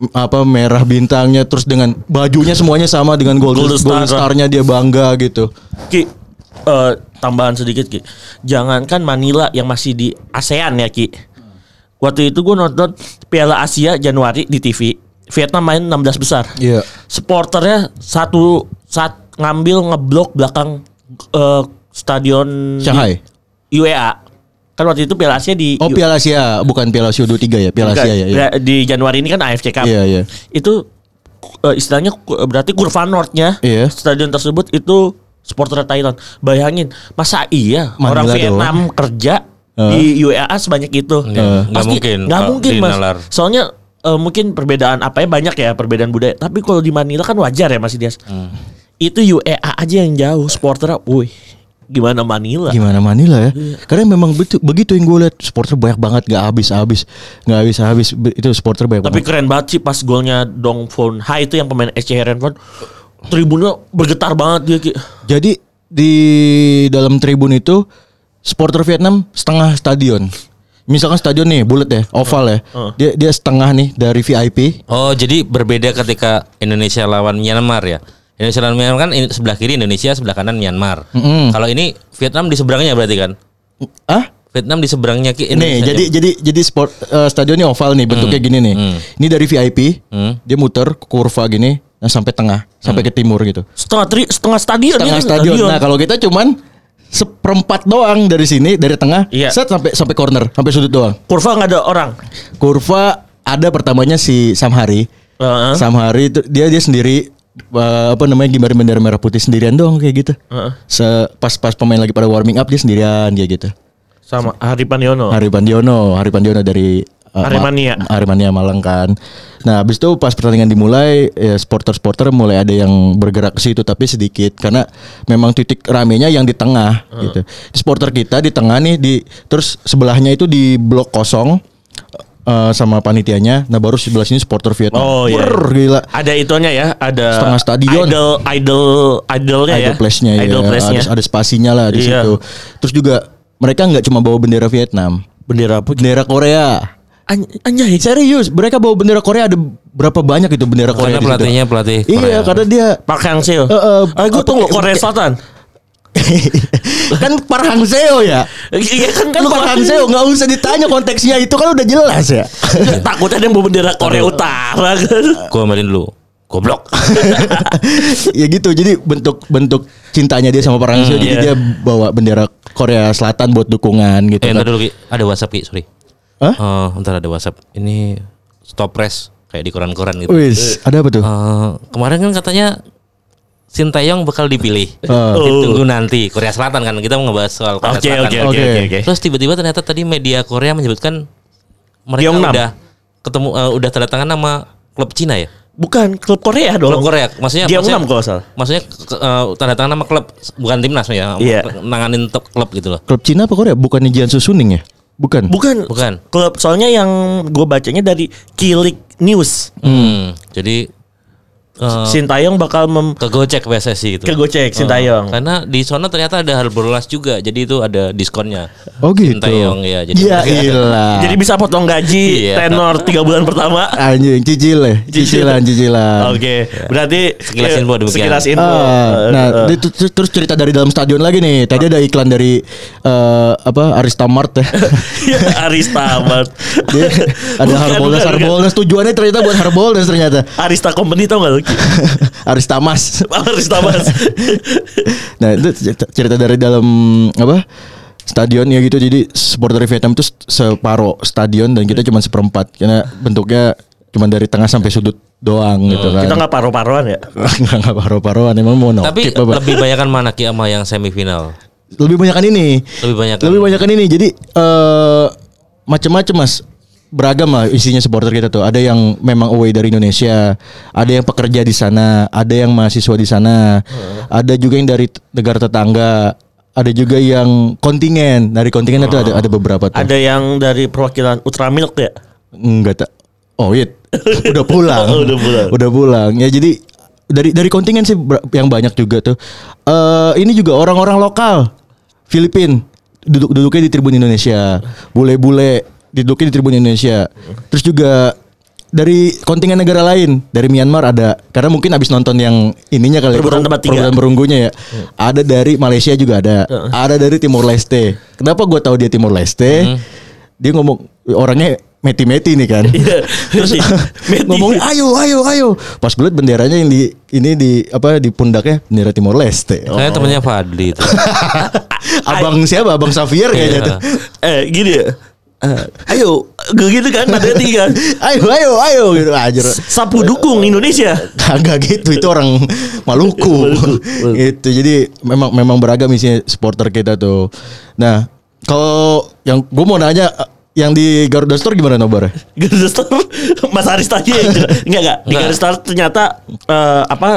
[SPEAKER 4] m- apa merah bintangnya terus dengan bajunya semuanya sama dengan golden,
[SPEAKER 3] Golden
[SPEAKER 4] golden,
[SPEAKER 3] Star.
[SPEAKER 4] star-nya dia bangga gitu.
[SPEAKER 3] Ki, eh, tambahan sedikit Ki. Jangankan Manila yang masih di ASEAN ya Ki. Waktu itu gue nonton Piala Asia Januari di TV. Vietnam main 16 besar.
[SPEAKER 4] Iya.
[SPEAKER 3] Supporternya satu saat ngambil ngeblok belakang eh, stadion
[SPEAKER 4] Shanghai.
[SPEAKER 3] di UEA. Kan waktu itu Piala Asia di
[SPEAKER 4] Oh Piala Asia bukan Piala Asia 23 ya, Piala Asia ya. Iya.
[SPEAKER 3] di Januari ini kan AFC Cup.
[SPEAKER 4] Iya, iya.
[SPEAKER 3] Itu eh, istilahnya ku- berarti kurva northnya
[SPEAKER 4] Iya.
[SPEAKER 3] stadion tersebut itu supporter Thailand. Bayangin, masa iya
[SPEAKER 4] Manila
[SPEAKER 3] orang
[SPEAKER 4] doang.
[SPEAKER 3] Vietnam kerja di UEA sebanyak itu?
[SPEAKER 2] Iya, nggak
[SPEAKER 3] Pasti
[SPEAKER 2] mungkin,
[SPEAKER 3] Nggak
[SPEAKER 2] Pak,
[SPEAKER 3] mungkin
[SPEAKER 2] di
[SPEAKER 3] mas.
[SPEAKER 2] nalar.
[SPEAKER 3] Soalnya eh, mungkin perbedaan apa ya banyak ya perbedaan budaya. Tapi kalau di Manila kan wajar ya Mas Dias.
[SPEAKER 4] Hmm.
[SPEAKER 3] Itu UEA aja yang jauh supporternya. Wih, gimana Manila?
[SPEAKER 4] Gimana Manila ya? Karena memang betu- begitu yang gue lihat supporter banyak banget nggak habis-habis, nggak habis-habis Be- itu supporter banyak
[SPEAKER 3] Tapi
[SPEAKER 4] banget.
[SPEAKER 3] keren banget sih pas golnya Dong Fon Hai itu yang pemain SC Herenford. Tribunnya bergetar banget dia Ki.
[SPEAKER 4] Jadi di dalam tribun itu supporter Vietnam setengah stadion. Misalkan stadion nih bulat ya, oval ya. Dia dia setengah nih dari VIP.
[SPEAKER 2] Oh, jadi berbeda ketika Indonesia lawan Myanmar ya. Indonesia lawan Myanmar kan in- sebelah kiri Indonesia, sebelah kanan Myanmar.
[SPEAKER 4] Mm-mm.
[SPEAKER 2] Kalau ini Vietnam di seberangnya berarti kan?
[SPEAKER 4] Ah?
[SPEAKER 2] Vietnam di seberangnya ki
[SPEAKER 4] Nih,
[SPEAKER 2] Indonesia.
[SPEAKER 4] jadi jadi jadi sport eh, stadionnya oval nih bentuknya
[SPEAKER 3] Hmm.
[SPEAKER 4] gini nih. Ini dari VIP, dia muter kurva gini nah sampai tengah, sampai ke timur gitu.
[SPEAKER 3] Setengah tri, setengah Hmm. stadion
[SPEAKER 4] setengah
[SPEAKER 3] ya,
[SPEAKER 4] stadion. Nah, kalau kita cuman seperempat doang dari sini dari tengah
[SPEAKER 3] Iya.
[SPEAKER 4] set sampai sampai corner, sampai sudut doang.
[SPEAKER 3] Kurva nggak ada orang.
[SPEAKER 4] Kurva ada pertamanya si Samhari.
[SPEAKER 3] Heeh.
[SPEAKER 4] Samhari itu dia dia sendiri eh, apa namanya gimana bendera merah putih sendirian doang kayak gitu.
[SPEAKER 3] Heeh.
[SPEAKER 4] Se- pas pas pemain lagi pada warming up dia sendirian kayak gitu.
[SPEAKER 3] Sama Hari Paniono.
[SPEAKER 4] Hari Pandiono, Hari Pandiono dari eh, Ma-
[SPEAKER 3] Aremania.
[SPEAKER 4] Aremania Malang kan. Nah, habis itu pas pertandingan dimulai, ya supporter-supporter mulai ada yang bergerak ke situ tapi sedikit karena memang titik ramenya yang di tengah gitu. Di supporter kita di tengah nih di terus sebelahnya itu di blok kosong eh, sama panitianya. Nah, baru sebelah sini supporter Vietnam.
[SPEAKER 3] Oh, iya.
[SPEAKER 4] Brrr, gila.
[SPEAKER 3] Ada itunya ya, ada
[SPEAKER 4] Setengah stadion.
[SPEAKER 3] Idol idol idolnya ya.
[SPEAKER 4] Idol place-nya ya.
[SPEAKER 3] Idol place-nya.
[SPEAKER 4] Ada, ada spasinya lah di
[SPEAKER 3] Iya.
[SPEAKER 4] situ. Terus juga mereka nggak cuma bawa bendera Vietnam,
[SPEAKER 3] Bendera apa?
[SPEAKER 4] bendera Korea.
[SPEAKER 3] An- Anjay.
[SPEAKER 4] Serius, mereka bawa bendera Korea ada berapa banyak itu bendera
[SPEAKER 2] karena
[SPEAKER 4] Korea? di situ?
[SPEAKER 2] pelatihnya pelatih
[SPEAKER 4] Iya,
[SPEAKER 2] Korea.
[SPEAKER 4] karena dia
[SPEAKER 3] Park Hang Seo.
[SPEAKER 4] Eh, eh,
[SPEAKER 3] Ah, gue
[SPEAKER 4] apa-
[SPEAKER 3] tunggu Korea
[SPEAKER 4] kayak-
[SPEAKER 3] Selatan.
[SPEAKER 4] kan Park Hang Seo ya.
[SPEAKER 3] Iya kan
[SPEAKER 4] Kan Park Hang Seo nggak usah ditanya konteksnya itu kan udah jelas ya.
[SPEAKER 3] Takutnya ada yang bawa bendera Korea Utara kan.
[SPEAKER 2] Gua omelin dulu. Goblok.
[SPEAKER 4] ya gitu. Jadi bentuk bentuk cintanya dia sama Park Hang Seo jadi
[SPEAKER 3] iya.
[SPEAKER 4] dia bawa bendera Korea Selatan buat dukungan gitu.
[SPEAKER 2] eh,
[SPEAKER 4] kan.
[SPEAKER 2] ntar dulu Ki. Ada WhatsApp Ki, sorry.
[SPEAKER 4] Hah?
[SPEAKER 2] Eh, ntar ada WhatsApp. Ini stop press kayak di koran-koran gitu.
[SPEAKER 4] Wis, ada apa tuh?
[SPEAKER 2] Eh, kemarin kan katanya Sintayong bakal dipilih.
[SPEAKER 4] Ah.
[SPEAKER 2] Ditunggu nanti Korea Selatan kan kita mau ngebahas soal Korea
[SPEAKER 3] Oke
[SPEAKER 2] Selatan.
[SPEAKER 3] oke
[SPEAKER 4] Oke.
[SPEAKER 3] oke oke.
[SPEAKER 2] Terus tiba-tiba ternyata tadi media Korea menyebutkan mereka
[SPEAKER 3] Gyeongnam.
[SPEAKER 2] udah ketemu eh, udah tanda tangan sama klub Cina ya.
[SPEAKER 3] Bukan klub Korea dong.
[SPEAKER 2] Klub Korea maksudnya
[SPEAKER 3] Dia
[SPEAKER 2] maksudnya-
[SPEAKER 3] enam kalau nggak salah.
[SPEAKER 2] Maksudnya ke- eh, tanda tangan sama klub bukan timnas ya.
[SPEAKER 3] Iya.
[SPEAKER 2] Nanganin top klub gitu loh.
[SPEAKER 4] Klub Cina apa Korea? Bukannya Jiangsu Suning ya? Bukan.
[SPEAKER 3] Bukan.
[SPEAKER 2] Bukan.
[SPEAKER 3] Klub soalnya yang gue bacanya dari Kilik News.
[SPEAKER 2] Hmm. Jadi
[SPEAKER 3] Oh.
[SPEAKER 2] eh,
[SPEAKER 3] Sintayong bakal mem
[SPEAKER 2] kegocek PSSI gitu.
[SPEAKER 3] kegocek Sintayong.
[SPEAKER 2] Karena di sana ternyata ada Harbolnas juga. Jadi itu ada diskonnya.
[SPEAKER 4] oh gitu.
[SPEAKER 2] Sintayong, ya, jadi-
[SPEAKER 4] ya
[SPEAKER 3] iya,
[SPEAKER 4] ilah.
[SPEAKER 3] Jadi bisa potong gaji
[SPEAKER 2] Iya.
[SPEAKER 3] tenor 3 bulan pertama.
[SPEAKER 4] anjing cicil ya, cicilan cicilan.
[SPEAKER 3] Oke, berarti
[SPEAKER 2] Sekilas
[SPEAKER 3] eh,
[SPEAKER 2] info demikian.
[SPEAKER 3] Ah. Sekilas info.
[SPEAKER 4] Ah, nah,
[SPEAKER 3] Oh, gitu. Eh,
[SPEAKER 4] di- ter- terus cerita dari dalam stadion lagi nih. Tadi ada iklan dari eh, apa Arista Mart ya.
[SPEAKER 3] ya, Arista Mart.
[SPEAKER 4] Dia ada
[SPEAKER 3] Bukan,
[SPEAKER 4] Harbolnas,
[SPEAKER 3] bukan, bukan.
[SPEAKER 4] Harbolnas tujuannya ternyata buat Harbolnas ternyata.
[SPEAKER 3] Arista Company tau gak lu? Ki?
[SPEAKER 4] Arista Mas.
[SPEAKER 3] Arista Mart.
[SPEAKER 4] Nah, itu cerita- cerita dari dalam apa? Stadion ya gitu. Jadi supporter Vietnam itu separuh stadion dan kita cuma seperempat karena bentuknya cuma dari tengah sampai sudut doang gitu kan.
[SPEAKER 3] Kita gak paru-paruan ya?
[SPEAKER 4] Nggak nggak paruh-paruhan emang mau
[SPEAKER 2] Tapi
[SPEAKER 4] nokip apa?
[SPEAKER 2] lebih banyakan mana Ki sama yang semifinal?
[SPEAKER 4] lebih banyakan ini
[SPEAKER 2] Lebih banyak. kan.
[SPEAKER 4] lebih banyakan ini jadi eh macam-macam mas beragam lah isinya supporter kita tuh ada yang memang away dari Indonesia ada yang pekerja di sana ada yang mahasiswa di sana ada juga yang dari t- negara tetangga ada juga yang kontingen dari kontingen itu ada ada beberapa tuh
[SPEAKER 3] Ada yang dari perwakilan Ultramilk ya?
[SPEAKER 4] enggak tak oh iya udah pulang
[SPEAKER 3] Udah pulang.
[SPEAKER 4] udah pulang ya jadi dari dari kontingen sih ber- yang banyak juga tuh. Eh ini juga orang-orang lokal Filipin duduk duduknya di tribun Indonesia. Bule-bule duduknya di tribun Indonesia. Terus juga dari kontingen negara lain dari Myanmar ada karena mungkin abis nonton yang ininya kali ya,
[SPEAKER 3] Perebutan tempat tiga.
[SPEAKER 4] perebutan perunggunya ya ada dari Malaysia juga ada ada dari Timor Leste kenapa gue tahu dia Timor Leste dia ngomong orangnya meti-meti nih kan
[SPEAKER 3] Iya. Terus
[SPEAKER 4] ngomong ayo ayo ayo pas gue liat benderanya yang di ini di apa di pundaknya bendera Timor Leste
[SPEAKER 3] Oh.
[SPEAKER 2] Kayaknya temennya Fadli itu.
[SPEAKER 4] abang siapa abang Xavier kayaknya
[SPEAKER 2] Iya.
[SPEAKER 4] tuh
[SPEAKER 3] eh gini ya. Eh,
[SPEAKER 4] Ah.
[SPEAKER 3] ayo gitu kan nada tiga.
[SPEAKER 4] ayo ayo ayo gitu aja
[SPEAKER 3] Sapu dukung Indonesia.
[SPEAKER 4] kagak gitu itu orang Maluku, gitu jadi memang memang beragam isinya supporter kita tuh nah kalau yang gue mau nanya yang di Garuda Store gimana nobar
[SPEAKER 3] Garis Star Mas Aris tadi ya Enggak enggak Di
[SPEAKER 4] Nah.
[SPEAKER 2] Enggak.
[SPEAKER 3] Garis Star ternyata eh, Apa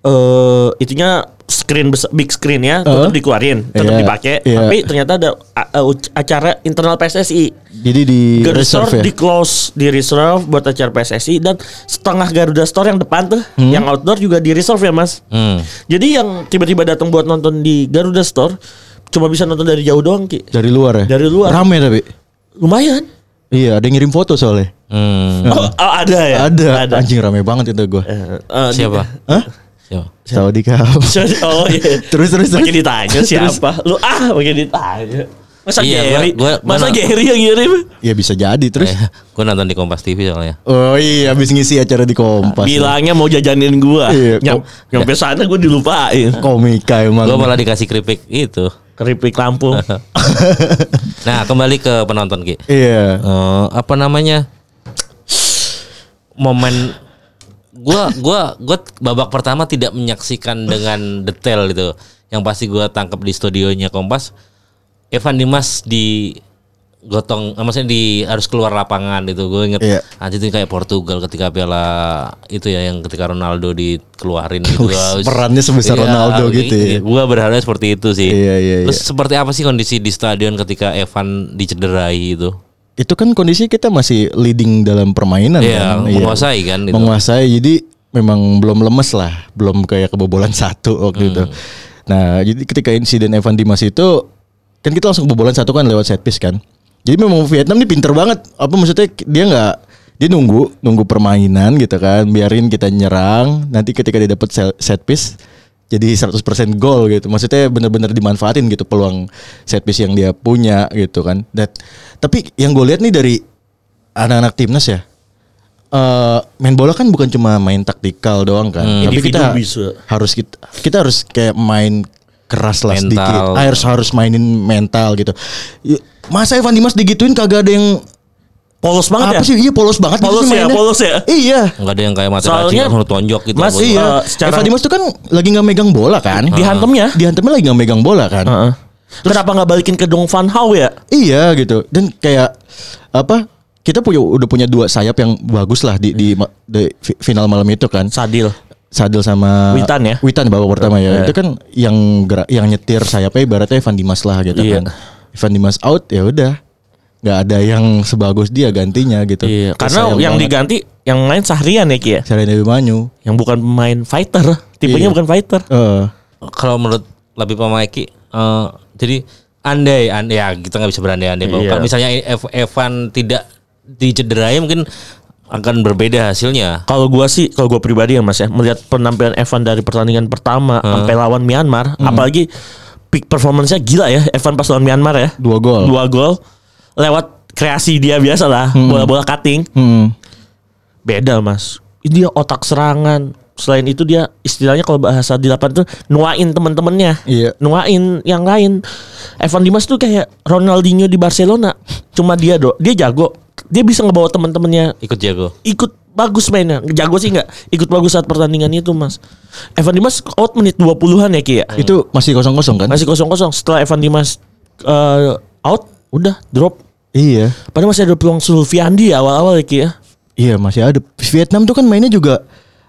[SPEAKER 3] eh itunya screen besar, big screen ya tetap
[SPEAKER 4] Uh-huh.
[SPEAKER 3] dikeluarin tetap
[SPEAKER 4] Iya,
[SPEAKER 3] dipakai
[SPEAKER 4] iya.
[SPEAKER 3] tapi ternyata ada a- eh, uc- acara internal PSSI
[SPEAKER 4] jadi di
[SPEAKER 3] Garuda
[SPEAKER 4] reserve
[SPEAKER 3] Store
[SPEAKER 4] ya
[SPEAKER 3] di close di reserve buat acara PSSI dan setengah Garuda Store yang depan tuh
[SPEAKER 4] Hmm.
[SPEAKER 3] yang outdoor juga di reserve ya Mas
[SPEAKER 2] Hmm.
[SPEAKER 3] jadi yang tiba-tiba datang buat nonton di Garuda Store cuma bisa nonton dari jauh doang ki
[SPEAKER 4] dari luar ya
[SPEAKER 3] Dari luar.
[SPEAKER 4] rame tapi
[SPEAKER 3] lumayan
[SPEAKER 4] iya ada yang ngirim foto soalnya Nah,
[SPEAKER 2] Hmm.
[SPEAKER 3] oh, oh, ada ya
[SPEAKER 4] ada, anjing rame banget itu gue
[SPEAKER 3] Eh, eh, di-
[SPEAKER 2] Siapa?
[SPEAKER 4] Hah?
[SPEAKER 2] Siapa?
[SPEAKER 4] Saudi Cup.
[SPEAKER 3] Sorry, Oh iya.
[SPEAKER 4] Terus, terus, terus.
[SPEAKER 3] Makin ditanya siapa? Lu ah makin ditanya. Masa
[SPEAKER 2] Iya, gua-
[SPEAKER 3] Jerry?
[SPEAKER 2] gua-
[SPEAKER 3] Masa
[SPEAKER 2] mana-
[SPEAKER 3] Jerry yang ngirim?
[SPEAKER 4] ya bisa jadi terus.
[SPEAKER 2] Eh, gue nonton di Kompas TV soalnya.
[SPEAKER 4] Oh iya habis ngisi acara di Kompas.
[SPEAKER 3] Bilangnya mau jajanin gua.
[SPEAKER 4] Iya,
[SPEAKER 3] Nyam-
[SPEAKER 4] kok-
[SPEAKER 3] Nyampe sana gua dilupain.
[SPEAKER 4] komika emang.
[SPEAKER 2] Gue malah dikasih keripik itu.
[SPEAKER 3] Keripik Lampung.
[SPEAKER 2] Nah kembali ke penonton Ki.
[SPEAKER 4] Iya.
[SPEAKER 2] Eh, apa namanya momen gua gua gua babak pertama tidak menyaksikan dengan detail itu yang pasti gua tangkap di studionya Kompas Evan Dimas di gotong eh, maksudnya di harus keluar lapangan itu gue inget
[SPEAKER 4] Iya.
[SPEAKER 2] anjir itu kayak Portugal ketika piala itu ya yang ketika Ronaldo dikeluarin gitu
[SPEAKER 4] Wih,
[SPEAKER 2] Wah, wis-
[SPEAKER 4] perannya sebesar Ronaldo gitu ya.
[SPEAKER 2] gua berharap seperti itu sih
[SPEAKER 4] Iya, iya,
[SPEAKER 2] terus seperti apa sih kondisi di stadion ketika Evan dicederai itu
[SPEAKER 4] Itu kan kondisi kita masih leading dalam permainan
[SPEAKER 2] Iya,
[SPEAKER 4] kan.
[SPEAKER 2] menguasai kan itu.
[SPEAKER 4] Menguasai jadi memang belum lemes lah, belum kayak kebobolan satu waktu itu. Nah, jadi ketika insiden Evan Dimas itu kan kita langsung kebobolan satu kan lewat set piece kan. Jadi memang Vietnam nih pinter banget. Apa maksudnya dia nggak dia nunggu nunggu permainan gitu kan, biarin kita nyerang. Nanti ketika dia dapat sel- set piece jadi 100% gol gitu. Maksudnya bener-bener dimanfaatin gitu peluang set piece yang dia punya gitu kan. Dan tapi yang gue lihat nih dari anak-anak timnas ya. eh main bola kan bukan cuma main taktikal doang kan.
[SPEAKER 3] Hmm.
[SPEAKER 4] Tapi
[SPEAKER 3] Individu
[SPEAKER 4] kita
[SPEAKER 3] bisa.
[SPEAKER 4] harus kita, kita harus kayak main keras lah
[SPEAKER 2] Mental.
[SPEAKER 4] sedikit. Ah, Harus harus mainin mental gitu. Ya, Masa Evan Dimas digituin kagak ada yang
[SPEAKER 3] Polos banget ya.
[SPEAKER 4] apa sih? Iya polos banget
[SPEAKER 3] Polos ya,
[SPEAKER 4] mainnya.
[SPEAKER 3] polos ya.
[SPEAKER 4] Iya.
[SPEAKER 2] Enggak ada yang kayak mata
[SPEAKER 3] Soalnya-
[SPEAKER 2] cacing langsung tonjok gitu.
[SPEAKER 3] Mas,
[SPEAKER 2] Gua-
[SPEAKER 4] Iya,
[SPEAKER 3] Eh, secara-
[SPEAKER 4] Evan Dimas tuh kan lagi nggak megang bola kan?
[SPEAKER 3] Dihantemnya.
[SPEAKER 4] Dihantemnya lagi nggak megang bola kan?
[SPEAKER 3] Heeh. Kenapa nggak balikin ke Dong Van Hao ya?
[SPEAKER 4] Iya gitu. Dan kayak apa? Kita punya udah punya dua sayap yang bagus lah di
[SPEAKER 3] Hmm.
[SPEAKER 4] di, ma- di fi- final malam itu kan.
[SPEAKER 3] Sadil.
[SPEAKER 4] Sadil sama
[SPEAKER 3] Witan ya?
[SPEAKER 4] Witan babak pertama ya. Itu kan yang gerak, yang nyetir sayapnya ibaratnya Evan Dimas lah gitu
[SPEAKER 3] Iya.
[SPEAKER 4] kan. Evan Dimas out ya udah. nggak ada yang sebagus dia gantinya gitu.
[SPEAKER 3] Iya, karena
[SPEAKER 4] Sayang
[SPEAKER 3] yang
[SPEAKER 4] banget.
[SPEAKER 3] diganti yang lain Sahrian ya Ki ya.
[SPEAKER 4] Sarah Dewi Manyu.
[SPEAKER 3] Yang bukan pemain fighter, tipenya
[SPEAKER 4] Iya.
[SPEAKER 3] bukan fighter.
[SPEAKER 4] Eh,
[SPEAKER 2] Kalau menurut lebih pemaiki eh jadi andai andai ya kita nggak bisa berandai-andai bahwa
[SPEAKER 3] Iya.
[SPEAKER 2] kalau misalnya Ev- Evan tidak dicederai mungkin akan berbeda hasilnya.
[SPEAKER 3] Kalau gua sih, kalau gua pribadi ya Mas ya, melihat penampilan Evan dari pertandingan pertama sampai lawan Myanmar, apalagi peak performance-nya gila ya Evan pas lawan Myanmar ya.
[SPEAKER 4] dua gol.
[SPEAKER 3] Dua gol lewat kreasi dia biasa lah, bola-bola cutting.
[SPEAKER 4] Hmm.
[SPEAKER 3] Beda Mas. Ini Dia otak serangan. Selain itu dia istilahnya kalau bahasa di lapangan tuh nuain teman-temannya.
[SPEAKER 4] Iya.
[SPEAKER 3] Nuain yang lain. Evan Dimas tuh kayak Ronaldinho di Barcelona. Cuma dia do, dia jago. Dia bisa ngebawa teman-temannya
[SPEAKER 2] Ikut jago.
[SPEAKER 3] ikut bagus mainnya. Jago sih nggak ikut bagus saat pertandingan itu, Mas. Evan Dimas out menit 20-an ya, Ki ya.
[SPEAKER 4] Itu masih kosong-kosong kan?
[SPEAKER 3] Masih kosong-kosong. Setelah Evan Dimas eh, out, udah drop.
[SPEAKER 4] Iya.
[SPEAKER 3] Padahal masih ada peluang Sulfiandi ya awal-awal ya, Ki ya.
[SPEAKER 4] Iya masih ada. Vietnam tuh kan mainnya juga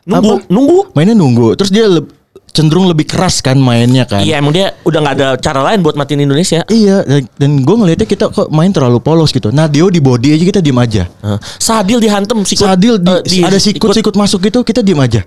[SPEAKER 3] Nunggu,
[SPEAKER 4] apa?
[SPEAKER 3] nunggu.
[SPEAKER 4] Mainnya nunggu. Terus dia leb- cenderung lebih keras kan mainnya kan.
[SPEAKER 3] Iya, emang dia udah nggak ada cara lain buat matiin Indonesia.
[SPEAKER 4] Iya, dan, dan gue ngelihatnya kita kok main terlalu polos gitu. Nah, Dio di body aja kita diem aja.
[SPEAKER 3] Sadil dihantem sikut.
[SPEAKER 4] Sadil di,
[SPEAKER 3] eh, di-
[SPEAKER 4] ada sikut-sikut masuk gitu, kita diem aja.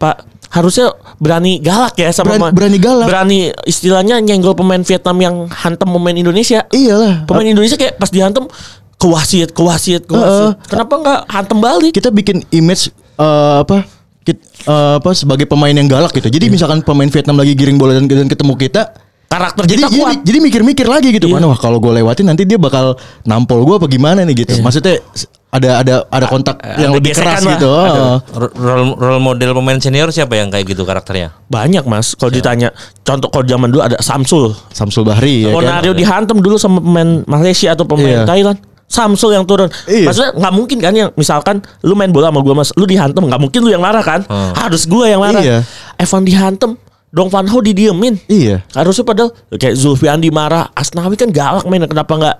[SPEAKER 3] Pak harusnya berani galak ya sama
[SPEAKER 4] Berani- berani galak.
[SPEAKER 3] Berani istilahnya nyenggol pemain Vietnam yang hantam pemain Indonesia.
[SPEAKER 4] Iyalah.
[SPEAKER 3] Pemain Indonesia kayak pas dihantam kewasit, kewasit, kewasit.
[SPEAKER 4] Heeh.
[SPEAKER 3] Kenapa nggak hantam balik?
[SPEAKER 4] kita bikin image eh, apa kit- eh, apa sebagai pemain yang galak gitu.
[SPEAKER 3] Iya.
[SPEAKER 4] Jadi misalkan pemain Vietnam lagi giring bola dan, dan ketemu kita
[SPEAKER 3] Karakter
[SPEAKER 4] jadi
[SPEAKER 3] kita
[SPEAKER 4] jadi,
[SPEAKER 3] kuat.
[SPEAKER 4] jadi mikir-mikir lagi gitu
[SPEAKER 3] Iya.
[SPEAKER 4] kan wah kalau gue lewatin nanti dia bakal nampol gue apa gimana nih gitu. Maksudnya s- ada ada ada kontak yang
[SPEAKER 3] Iya. ada
[SPEAKER 4] lebih
[SPEAKER 3] gesekan
[SPEAKER 4] keras
[SPEAKER 3] lah.
[SPEAKER 4] gitu.
[SPEAKER 3] Ada.
[SPEAKER 2] Ro- Role, role model pemain senior siapa yang kayak gitu karakternya?
[SPEAKER 3] Banyak mas. Kalau
[SPEAKER 4] Iya.
[SPEAKER 3] ditanya, contoh kalau zaman dulu ada Samsul.
[SPEAKER 4] Samsul Bahri ya kan.
[SPEAKER 3] Ronario dihantam dulu sama pemain Malaysia atau pemain
[SPEAKER 4] Iya.
[SPEAKER 3] Thailand. Samsul yang turun.
[SPEAKER 4] Iya.
[SPEAKER 3] Maksudnya nggak mungkin kan yang misalkan lu main bola sama gua Mas, lu dihantam nggak mungkin lu yang marah kan?
[SPEAKER 2] Hmm.
[SPEAKER 3] Harus gua yang marah.
[SPEAKER 4] Iya.
[SPEAKER 3] Evan dihantam, Dong Van Ho didiemin.
[SPEAKER 4] Iya.
[SPEAKER 3] Harusnya padahal kayak Zulfiandi marah, Asnawi kan galak main kenapa nggak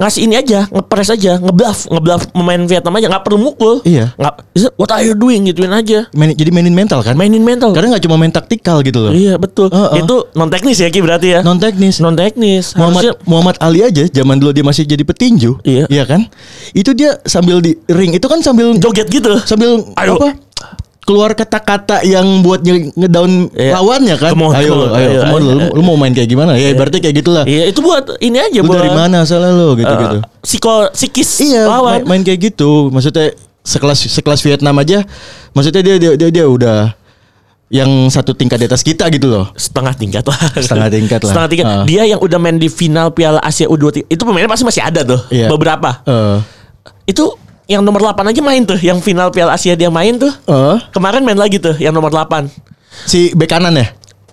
[SPEAKER 3] ngasih ini aja, ngepres aja, ngebluff, ngebluff pemain Vietnam aja nggak perlu mukul.
[SPEAKER 4] Iya.
[SPEAKER 3] Nggak, "Is it what are you doing gituin aja.
[SPEAKER 4] Main- jadi mainin mental kan.
[SPEAKER 3] Mainin mental.
[SPEAKER 4] Karena nggak cuma main taktikal gitu loh.
[SPEAKER 3] Iya betul.
[SPEAKER 4] Heeh.
[SPEAKER 3] Itu non teknis ya Ki berarti ya.
[SPEAKER 4] Non teknis.
[SPEAKER 3] non teknis.
[SPEAKER 4] Muhammad
[SPEAKER 3] Harusnya
[SPEAKER 4] Muhammad Ali aja zaman dulu dia masih jadi petinju,
[SPEAKER 3] Iya.
[SPEAKER 4] kan? Itu dia sambil di ring itu kan sambil
[SPEAKER 3] joget gitu.
[SPEAKER 4] sambil
[SPEAKER 3] Ayo.
[SPEAKER 4] apa keluar kata-kata yang buat nge- ngedown
[SPEAKER 3] Iya.
[SPEAKER 4] lawannya kan
[SPEAKER 3] Come on,
[SPEAKER 4] ayo
[SPEAKER 3] come
[SPEAKER 4] lo,
[SPEAKER 3] on,
[SPEAKER 4] ayo,
[SPEAKER 3] ayo,
[SPEAKER 4] come on,
[SPEAKER 3] ayo,
[SPEAKER 4] lo. lu, lu mau main kayak gimana ya berarti kayak gitulah
[SPEAKER 3] Iya itu buat ini aja
[SPEAKER 4] lu
[SPEAKER 3] buat
[SPEAKER 4] dari mana asalnya lo gitu
[SPEAKER 3] eh,
[SPEAKER 4] gitu
[SPEAKER 3] psiko psikis
[SPEAKER 4] iya
[SPEAKER 3] lawan.
[SPEAKER 4] main, main kayak gitu maksudnya sekelas sekelas Vietnam aja maksudnya dia dia dia, dia udah yang satu tingkat di atas kita gitu loh
[SPEAKER 3] setengah tingkat lah.
[SPEAKER 4] Setengah tingkat lah.
[SPEAKER 3] Setengah tingkat.
[SPEAKER 4] Ah. Iya.
[SPEAKER 3] Dia yang udah main di final Piala Asia U23 itu pemainnya pasti masih ada tuh.
[SPEAKER 4] Iya.
[SPEAKER 3] Beberapa.
[SPEAKER 4] Eh,
[SPEAKER 3] Itu yang nomor 8 aja main tuh, yang final Piala Asia dia main tuh.
[SPEAKER 4] eh,
[SPEAKER 3] Kemarin main lagi tuh yang nomor 8.
[SPEAKER 4] si bek kanan ya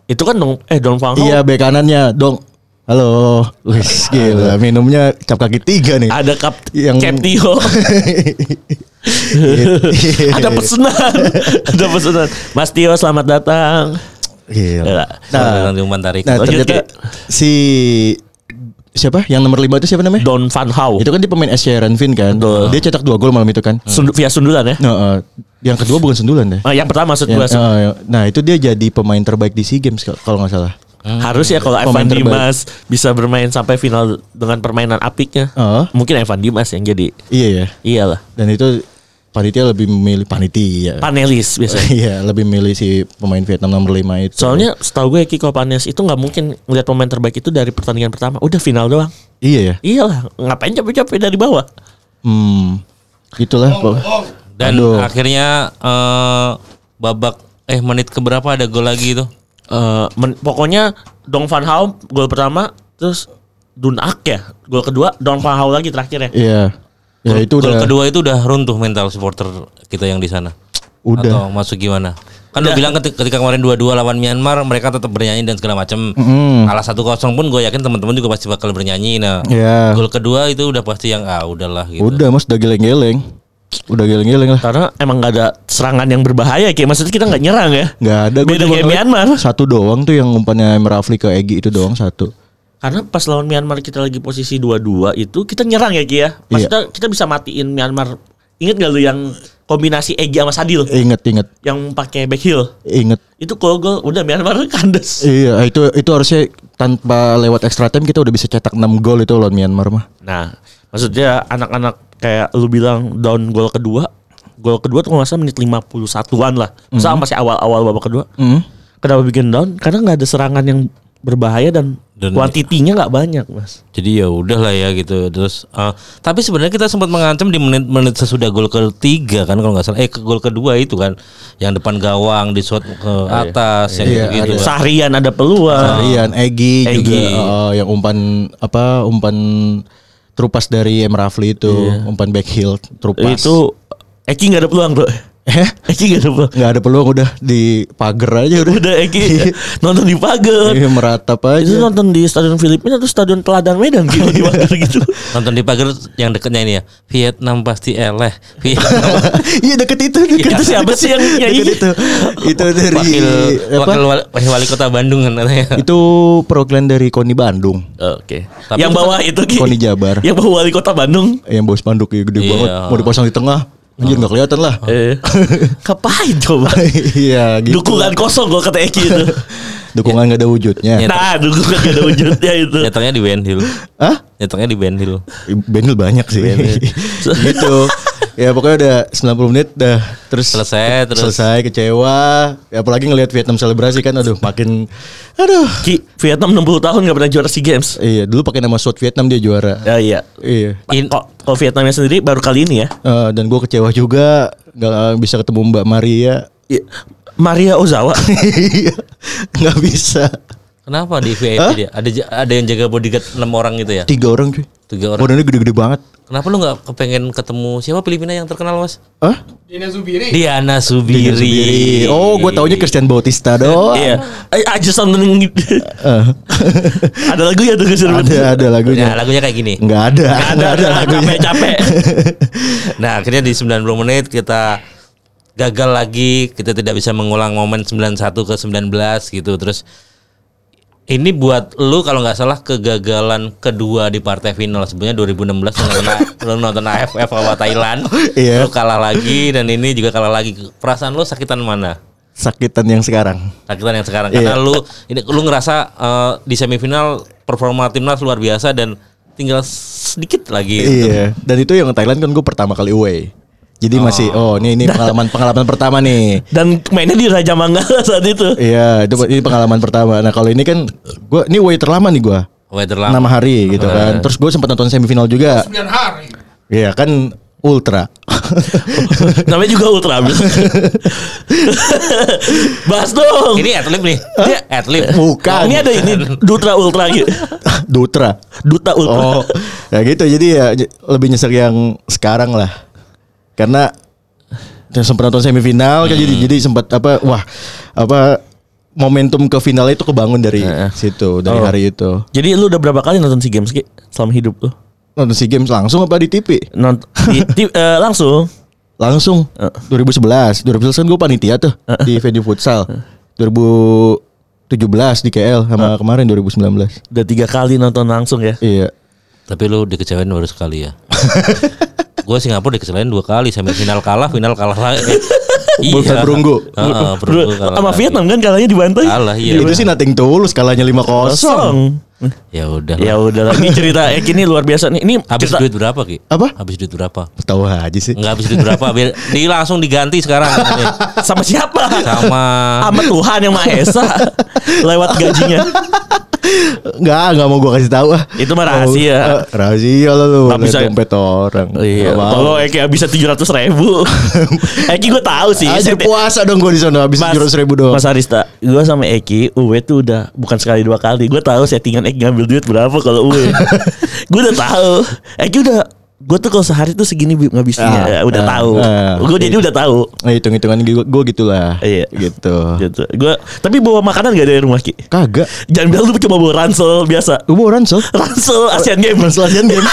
[SPEAKER 3] Itu kan dong eh Don Fang Ho.
[SPEAKER 4] iya bek kanannya dong halo wis gila minumnya cap kaki tiga nih
[SPEAKER 3] Ada Kap
[SPEAKER 4] Yang-
[SPEAKER 3] Cap Tio.
[SPEAKER 4] Iya.
[SPEAKER 3] ada pesanan. ada pesanan. Mas Tio selamat datang.
[SPEAKER 4] Gila.
[SPEAKER 2] Nah, di Umpan Tarik.
[SPEAKER 4] Nah
[SPEAKER 3] Lanjut,
[SPEAKER 4] ternyata si siapa yang nomor lima itu siapa namanya?
[SPEAKER 3] Don Van Hau.
[SPEAKER 4] Itu kan dia pemain SC Renvin kan.
[SPEAKER 3] Betul.
[SPEAKER 4] Dia cetak dua gol malam itu kan.
[SPEAKER 3] Sundu- via sundulan ya.
[SPEAKER 4] Nah, eh, yang kedua bukan sundulan deh.
[SPEAKER 3] Eh, yang pertama maksud
[SPEAKER 4] Yang-
[SPEAKER 3] gue
[SPEAKER 4] eh, eh, nah itu dia jadi pemain terbaik di SEA Games kalau- kalau nggak salah.
[SPEAKER 3] harus ya kalau Evan
[SPEAKER 4] Ah, Pemain terbaik.
[SPEAKER 3] Dimas bisa bermain sampai final dengan permainan apiknya.
[SPEAKER 4] Heeh.
[SPEAKER 3] Mungkin Evan Dimas yang jadi
[SPEAKER 4] Iya ya.
[SPEAKER 3] iyalah
[SPEAKER 4] Dan itu panitia lebih memilih panitia.
[SPEAKER 3] panelis biasanya.
[SPEAKER 4] Iya lebih memilih si pemain Vietnam nomor lima itu.
[SPEAKER 3] Soalnya setahu gue Kiko Panelis itu nggak mungkin ngeliat pemain terbaik itu dari pertandingan pertama. Udah final doang.
[SPEAKER 4] iya ya.
[SPEAKER 3] Iyalah, ngapain capek-capek dari bawah?
[SPEAKER 4] Hmm. Itulah.
[SPEAKER 2] Dan
[SPEAKER 4] Aduh.
[SPEAKER 2] akhirnya eh, babak eh menit keberapa ada gol lagi itu?
[SPEAKER 3] Eh, men- pokoknya Dong Van Hau gol pertama, terus Dunak ya gol kedua, Dong Van Hau lagi terakhir ya.
[SPEAKER 4] Iya. Ya itu
[SPEAKER 2] gol
[SPEAKER 4] udah.
[SPEAKER 2] kedua itu udah runtuh mental supporter kita yang di sana. Atau
[SPEAKER 4] Udah.
[SPEAKER 2] masuk gimana? Kan lo bilang ketika, ketika kemarin dua-dua lawan Myanmar mereka tetap bernyanyi dan segala macam.
[SPEAKER 4] Hmm,
[SPEAKER 2] Kalah satu kosong pun gue yakin teman-teman juga pasti bakal bernyanyi. Nah,
[SPEAKER 4] Iya.
[SPEAKER 2] gol kedua itu udah pasti yang ah udahlah gitu.
[SPEAKER 4] Udah mas udah geleng-geleng Udah geleng-geleng lah
[SPEAKER 3] Karena emang nggak ada serangan yang berbahaya kayak maksudnya kita nggak nyerang ya.
[SPEAKER 4] Gak ada gua
[SPEAKER 3] Beda
[SPEAKER 4] cuma
[SPEAKER 3] kayak
[SPEAKER 4] ngeliat
[SPEAKER 3] Myanmar.
[SPEAKER 4] Satu doang tuh yang umpannya Emre Rafli ke Egi itu doang satu
[SPEAKER 3] Karena pas lawan Myanmar kita lagi posisi 2-2 itu kita nyerang ya Ki ya. Maksudnya kita bisa matiin Myanmar. Ingat gak lu yang kombinasi Egi sama Sadil
[SPEAKER 4] Ingat ingat
[SPEAKER 3] yang pakai back heel?
[SPEAKER 4] Ingat
[SPEAKER 3] Itu kalau gol udah Myanmar kandas.
[SPEAKER 4] Iya itu itu harusnya tanpa lewat extra time kita udah bisa cetak 6 gol itu lawan Myanmar mah
[SPEAKER 3] Nah, maksudnya anak-anak kayak lu bilang down gol kedua, gol kedua tuh masa menit 51-an lah.
[SPEAKER 4] Mhm.
[SPEAKER 3] Sama masih awal-awal babak kedua.
[SPEAKER 4] Hmm.
[SPEAKER 3] Kenapa bikin down? Karena nggak ada serangan yang berbahaya dan,
[SPEAKER 2] Dan-
[SPEAKER 3] kuantitinya nggak banyak, Mas.
[SPEAKER 2] Jadi ya udahlah ya gitu. Terus eh, tapi sebenarnya kita sempat mengancam di menit-menit sesudah gol ketiga kan kalau nggak salah. Eh ke gol kedua itu kan yang depan gawang di shot ke atas yang
[SPEAKER 4] Iya,
[SPEAKER 2] gitu.
[SPEAKER 4] ada.
[SPEAKER 3] Seharian ada peluang.
[SPEAKER 4] Sarian Egi,
[SPEAKER 3] Egy.
[SPEAKER 4] juga oh, yang umpan apa umpan terupas dari Emre Rafli itu umpan back heel terupas
[SPEAKER 3] Iya. Itu Eki nggak ada peluang, Bro.
[SPEAKER 4] eh
[SPEAKER 3] Eki gak ada peluang.
[SPEAKER 4] nggak ada peluang udah di pagar aja udah
[SPEAKER 3] Iya, Udah Eki nonton di pagar.
[SPEAKER 4] Iya, meratap aja
[SPEAKER 3] Itu nonton di stadion Filipina atau stadion Teladan Medan gitu di pagar gitu.
[SPEAKER 2] Nonton di pagar yang dekatnya ini ya. Vietnam pasti eleh. Vietnam
[SPEAKER 4] Iya deket itu deket
[SPEAKER 3] Itu siapa sih yang nyanyi?
[SPEAKER 4] Deket itu itu dari
[SPEAKER 2] wakil,
[SPEAKER 4] apa?
[SPEAKER 2] wakil wali, wakil wali kota Bandung kan katanya.
[SPEAKER 4] itu perwakilan dari Koni Bandung
[SPEAKER 3] Oke.
[SPEAKER 2] Tapi
[SPEAKER 3] Yang
[SPEAKER 2] itu
[SPEAKER 3] bawah itu Ki.
[SPEAKER 4] Koni Jabar.
[SPEAKER 3] Yang bawah wali kota Bandung.
[SPEAKER 4] yang bawa spanduk ya, gede
[SPEAKER 2] Iya.
[SPEAKER 4] banget mau dipasang di tengah anjir nggak kelihatan lah
[SPEAKER 3] Eh. Ngapain coba?
[SPEAKER 4] iya gitu
[SPEAKER 3] Dukungan kosong gue kata Eki itu.
[SPEAKER 4] dukungan nggak ada wujudnya
[SPEAKER 2] Ya.
[SPEAKER 3] Nah, dukungan gak ada wujudnya itu.
[SPEAKER 2] Nyatanya di Ben Hill.
[SPEAKER 4] Hah?
[SPEAKER 2] Nyatanya di Ben Hill.
[SPEAKER 4] Benil banyak sih gitu ya pokoknya udah 90 menit dah terus
[SPEAKER 2] Selesai, terus.
[SPEAKER 4] selesai kecewa ya, apalagi ngelihat Vietnam selebrasi kan aduh makin aduh
[SPEAKER 3] Ki, Vietnam 60 tahun gak pernah juara SEA Games.
[SPEAKER 4] iya dulu pakai nama South Vietnam dia juara
[SPEAKER 3] Ya iya.
[SPEAKER 4] iya
[SPEAKER 2] In-
[SPEAKER 3] Kok kok Vietnamnya sendiri baru kali ini ya.
[SPEAKER 4] Eh, dan gue kecewa juga nggak bisa ketemu Mbak Maria
[SPEAKER 3] Iya. Maria Ozawa.
[SPEAKER 4] Iya, nggak bisa
[SPEAKER 2] Kenapa di VIP
[SPEAKER 4] Hah?
[SPEAKER 2] dia? Ada ja- ada yang jaga bodyguard 6 orang gitu ya?
[SPEAKER 4] tiga orang cuy
[SPEAKER 2] Tiga orang.
[SPEAKER 4] badannya gede-gede banget
[SPEAKER 2] Kenapa lu nggak kepengen ketemu siapa Filipina yang terkenal mas?
[SPEAKER 4] Hah?
[SPEAKER 1] Dina Zubiri.
[SPEAKER 2] Diana
[SPEAKER 4] Tiga
[SPEAKER 2] Subiri. Nah,
[SPEAKER 4] sendiri. Oh, gue taunya Christian Bautista doang.
[SPEAKER 3] Iya. I, I just something.
[SPEAKER 4] Eh,
[SPEAKER 3] ada lagu ya tuh Christian
[SPEAKER 4] ada
[SPEAKER 3] Bautista?
[SPEAKER 4] ada
[SPEAKER 2] Nah,
[SPEAKER 4] lagunya.
[SPEAKER 2] lagunya kayak gini.
[SPEAKER 4] Enggak ada. Enggak ada lagunya.
[SPEAKER 3] Capek capek.
[SPEAKER 2] Nah, akhirnya di 90 menit kita gagal lagi, kita tidak bisa mengulang momen 91 ke 19 gitu. Terus ini buat lu kalau nggak salah kegagalan kedua di partai final sebenarnya 2016 lu nonton, lu nonton AFF lawan Thailand, lu
[SPEAKER 4] Iya.
[SPEAKER 2] kalah lagi dan ini juga kalah lagi. Perasaan lu sakitan mana?
[SPEAKER 4] Sakitan yang sekarang.
[SPEAKER 2] Sakitan yang sekarang karena
[SPEAKER 4] Iya.
[SPEAKER 2] lu ini lu ngerasa eh, di semifinal performa timnas luar biasa dan tinggal sedikit lagi.
[SPEAKER 4] Iya. Dan itu yang Thailand kan gue pertama kali away. Jadi masih oh ini ini pengalaman pengalaman pertama nih.
[SPEAKER 3] Dan mainnya di Raja Manggala saat itu.
[SPEAKER 4] Iya, itu ini pengalaman pertama. Nah, kalau ini kan gua ini away terlama nih gua.
[SPEAKER 2] Weather lama.
[SPEAKER 4] Enam hari gitu kan. Terus gue sempat nonton semifinal juga.
[SPEAKER 1] 9 hari.
[SPEAKER 4] Iya, kan ultra.
[SPEAKER 3] Namanya juga Ultra Abis. Bahas dong.
[SPEAKER 2] Ini atlet nih. Dia atlet.
[SPEAKER 4] Bukan.
[SPEAKER 3] ini ada ini Dutra Ultra gitu.
[SPEAKER 4] Dutra.
[SPEAKER 3] Duta Ultra.
[SPEAKER 4] Oh, ya gitu. Jadi ya j- lebih nyesek yang sekarang lah. Karena ya sempat nonton semifinal kan jadi
[SPEAKER 2] Hmm.
[SPEAKER 4] jadi sempat apa wah apa momentum ke final itu kebangun dari
[SPEAKER 2] Iya,
[SPEAKER 4] situ dari
[SPEAKER 2] Oh.
[SPEAKER 4] hari itu.
[SPEAKER 3] Jadi lu udah berapa kali nonton SEA Games Ki? selama hidup lu?
[SPEAKER 4] Nonton SEA Games langsung apa di TV?
[SPEAKER 3] Nont di, di- eh, langsung.
[SPEAKER 4] Langsung. 2011. 2011 kan gue panitia tuh di venue futsal. 2017 di KL sama kemarin 2019.
[SPEAKER 3] Udah tiga kali nonton langsung ya.
[SPEAKER 4] Iya.
[SPEAKER 2] Tapi lu dikecewain baru sekali ya. gue Singapura dikecewain dua kali semifinal kalah, final kalah lagi.
[SPEAKER 4] Bukan perunggu.
[SPEAKER 2] Heeh, perunggu
[SPEAKER 3] Bro,
[SPEAKER 2] kalah
[SPEAKER 3] Iya. sama
[SPEAKER 2] lagi.
[SPEAKER 3] Vietnam kan kalahnya dibantai.
[SPEAKER 2] Kalah iya.
[SPEAKER 4] Itu sih nothing tulus kalahnya 5-0.
[SPEAKER 3] Kosong.
[SPEAKER 2] Ya udah. lah.
[SPEAKER 4] Iya.
[SPEAKER 3] Ya udah lagi cerita Eki ini luar biasa nih. Ini
[SPEAKER 2] Habis
[SPEAKER 3] cerita-
[SPEAKER 2] duit berapa, Ki?
[SPEAKER 4] Apa?
[SPEAKER 2] Habis duit berapa?
[SPEAKER 4] Tahu aja sih.
[SPEAKER 2] Enggak habis duit berapa? Biar di langsung diganti sekarang ini.
[SPEAKER 3] sama siapa?
[SPEAKER 2] sama
[SPEAKER 3] Sama Tuhan yang Maha Esa lewat gajinya.
[SPEAKER 4] Enggak, enggak mau gua kasih tahu ah.
[SPEAKER 3] Itu mah
[SPEAKER 4] Mau-
[SPEAKER 3] rahasia.
[SPEAKER 4] eh, rahasia lah lu.
[SPEAKER 3] Tapi
[SPEAKER 4] lihat
[SPEAKER 3] saya-
[SPEAKER 4] dompet orang.
[SPEAKER 3] Iya.
[SPEAKER 4] Nggak mau.
[SPEAKER 3] Kalau Eki bisa tujuh ratus ribu, Eki gue tahu sih.
[SPEAKER 4] Anjir
[SPEAKER 3] Seti-
[SPEAKER 4] puasa dong gua di sana habis
[SPEAKER 3] Mas-
[SPEAKER 4] 700 ribu doang.
[SPEAKER 3] Mas Arista, gue sama Eki, Uwe tuh udah bukan sekali dua kali. Gue tahu settingan Eki ngambil duit berapa kalau Uwe. gue udah tahu. Eki udah, gue tuh kalau sehari tuh segini bi- ngabisinnya.
[SPEAKER 4] Ah,
[SPEAKER 3] Ya, udah
[SPEAKER 4] ah,
[SPEAKER 3] tahu.
[SPEAKER 4] ah.
[SPEAKER 3] gue jadi udah tahu.
[SPEAKER 4] Nah, hitung-hitungan gua, gua gitulah.
[SPEAKER 3] Iya.
[SPEAKER 4] Gitu.
[SPEAKER 3] Gitu. Gue, tapi bawa makanan gak dari rumah Ki?
[SPEAKER 4] Kagak.
[SPEAKER 3] Jangan bilang lu cuma bawa ransel biasa.
[SPEAKER 4] Gua mau ransel.
[SPEAKER 3] Ransel Asian Games.
[SPEAKER 4] Ransel Asian Games.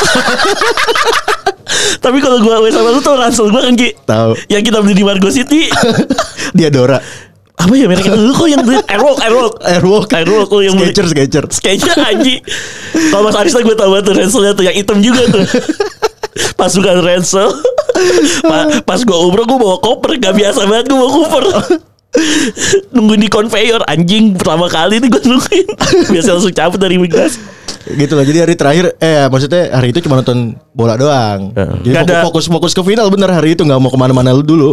[SPEAKER 3] tapi kalau gue Uwe sama lu tuh ransel gue kan Ki.
[SPEAKER 4] Tahu.
[SPEAKER 3] Yang kita beli di Margo City.
[SPEAKER 4] Dia Dora.
[SPEAKER 3] Apa ya mereknya lu kok yang beli Airwalk Airwalk
[SPEAKER 4] Airwalk.
[SPEAKER 3] Airwalk lu yang beli
[SPEAKER 4] Sketcher, sketcher.
[SPEAKER 3] Sketcher anji Kalau Mas Arista gue tau banget tuh Renselnya tuh Yang hitam juga tuh Pasukan Rensel Pa- Pas gue umroh gue bawa koper Gak biasa banget gue bawa koper Nungguin di konveyor Anjing pertama kali nih gue nungguin Biasa langsung cabut dari imigrasi
[SPEAKER 4] Gitu lah. Jadi hari terakhir eh maksudnya hari itu cuma nonton bola doang. Jadi
[SPEAKER 3] Iya. Nggak ada-
[SPEAKER 4] fokus, fokus fokus ke final bener hari itu nggak mau kemana mana lu dulu.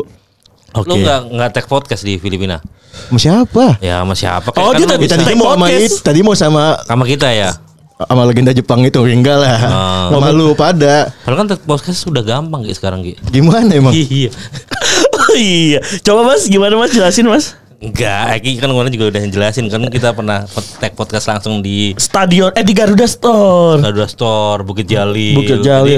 [SPEAKER 2] lu enggak enggak tag podcast di Filipina.
[SPEAKER 4] Sama siapa?
[SPEAKER 2] Ya sama siapa? Kayak
[SPEAKER 3] Oh,
[SPEAKER 2] kan
[SPEAKER 3] dia
[SPEAKER 2] lu
[SPEAKER 3] tadi-
[SPEAKER 2] bisa-
[SPEAKER 4] tadi
[SPEAKER 3] Tag
[SPEAKER 4] mau sama
[SPEAKER 3] podcast.
[SPEAKER 4] it- tadi mau sama
[SPEAKER 2] sama kita ya.
[SPEAKER 4] sama legenda Jepang itu enggak lah.
[SPEAKER 3] Ah.
[SPEAKER 4] Sama lu pada
[SPEAKER 2] Padahal kan tag podcast sudah gampang gitu sekarang gitu.
[SPEAKER 4] gimana emang?
[SPEAKER 2] Iya.
[SPEAKER 3] Oh iya Coba mas gimana mas jelasin mas
[SPEAKER 2] Enggak, Eki kan kemarin juga udah jelasin kan kita pernah tag podcast langsung di
[SPEAKER 3] Stadion Eh di Garuda Store
[SPEAKER 2] Garuda Store, Bukit Jalil.
[SPEAKER 3] Bukit
[SPEAKER 2] Jadi,
[SPEAKER 3] Jalil.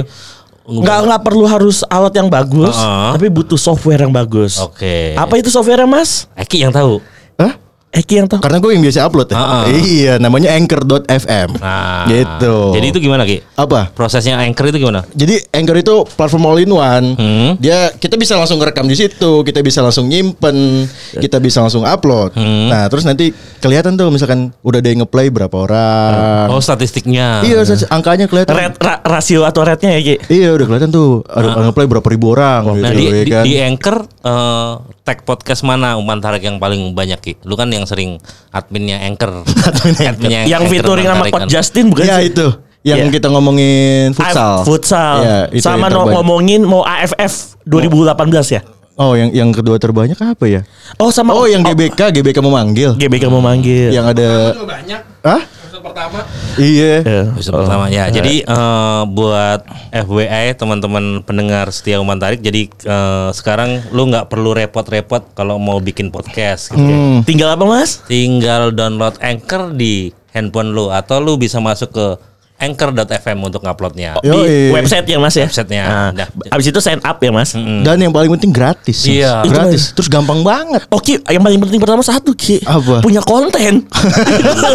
[SPEAKER 3] Nggak, nggak perlu harus alat yang bagus,
[SPEAKER 2] Heeh.
[SPEAKER 3] tapi butuh software yang bagus.
[SPEAKER 2] Oke.
[SPEAKER 3] Apa itu software Mas?
[SPEAKER 2] Eki yang tahu.
[SPEAKER 4] Hah?
[SPEAKER 3] Eki yang tahu.
[SPEAKER 4] Karena gue yang biasa upload ya.
[SPEAKER 2] Ah, ah.
[SPEAKER 4] Iya, namanya anchor.fm.
[SPEAKER 2] Nah.
[SPEAKER 4] gitu.
[SPEAKER 2] Jadi itu gimana, Ki?
[SPEAKER 4] apa?
[SPEAKER 2] Prosesnya anchor itu gimana?
[SPEAKER 4] Jadi Anchor itu platform all in one.
[SPEAKER 2] Hmm.
[SPEAKER 4] Dia kita bisa langsung ngerekam di situ, kita bisa langsung nyimpen,
[SPEAKER 2] Ya.
[SPEAKER 4] kita bisa langsung upload.
[SPEAKER 2] Hmm.
[SPEAKER 4] Nah, terus nanti kelihatan tuh misalkan udah ada yang ngeplay berapa orang.
[SPEAKER 2] Oh, statistiknya.
[SPEAKER 4] Ah. Iya, angkanya kelihatan.
[SPEAKER 3] Red, ra- rasio atau rate-nya ya,
[SPEAKER 2] Eh,
[SPEAKER 3] Ki?
[SPEAKER 4] Iya, udah kelihatan tuh ada yang ngeplay berapa ribu orang gitu
[SPEAKER 2] Ah. Nah, di,
[SPEAKER 4] ya
[SPEAKER 2] di,
[SPEAKER 4] kan.
[SPEAKER 2] di anchor eh, tag podcast mana umpan tarik yang paling banyak, Ki? Lu kan yang sering adminnya anchor. adminnya
[SPEAKER 3] yang
[SPEAKER 2] Anchor
[SPEAKER 3] featuring
[SPEAKER 2] umpan
[SPEAKER 3] sama
[SPEAKER 2] tarik
[SPEAKER 3] Coach
[SPEAKER 2] kan.
[SPEAKER 3] Justin bukan
[SPEAKER 4] Iya,
[SPEAKER 3] sih?
[SPEAKER 4] itu. yang
[SPEAKER 3] Iya.
[SPEAKER 4] kita ngomongin
[SPEAKER 2] Ah,
[SPEAKER 4] futsal.
[SPEAKER 3] A- futsal.
[SPEAKER 4] Iya, itu
[SPEAKER 3] Sama no-
[SPEAKER 4] yang terbaik.
[SPEAKER 3] ngomongin mau AFF 2018 ya.
[SPEAKER 4] Oh, yang yang kedua terbanyak apa ya?
[SPEAKER 3] Oh sama
[SPEAKER 4] Oh, yang GBK, GBK memanggil.
[SPEAKER 3] GBK mau manggil.
[SPEAKER 4] Yang ada
[SPEAKER 1] banyak.
[SPEAKER 4] Hah?
[SPEAKER 1] Episode pertama.
[SPEAKER 4] Iya.
[SPEAKER 3] Ya.
[SPEAKER 2] Episode pertama ya. Jadi eh, buat FWI teman-teman pendengar setia Uman Tarik, jadi eh, sekarang lu nggak perlu repot-repot kalau mau bikin podcast. Gitu. ya.
[SPEAKER 3] Tinggal apa mas?
[SPEAKER 2] Tinggal download Anchor di handphone lu atau lu bisa masuk ke anchor.fm untuk uploadnya.
[SPEAKER 3] Di
[SPEAKER 4] Yoi.
[SPEAKER 3] website ya mas ya.
[SPEAKER 2] Websitenya.
[SPEAKER 3] Nah,
[SPEAKER 2] Dah.
[SPEAKER 3] abis itu sign up ya mas.
[SPEAKER 4] Dan yang paling penting gratis. Mas.
[SPEAKER 2] Iya.
[SPEAKER 4] Gratis. Terus gampang banget.
[SPEAKER 3] Oke, Oh, yang paling penting pertama satu Ki.
[SPEAKER 4] Apa?
[SPEAKER 3] Punya konten.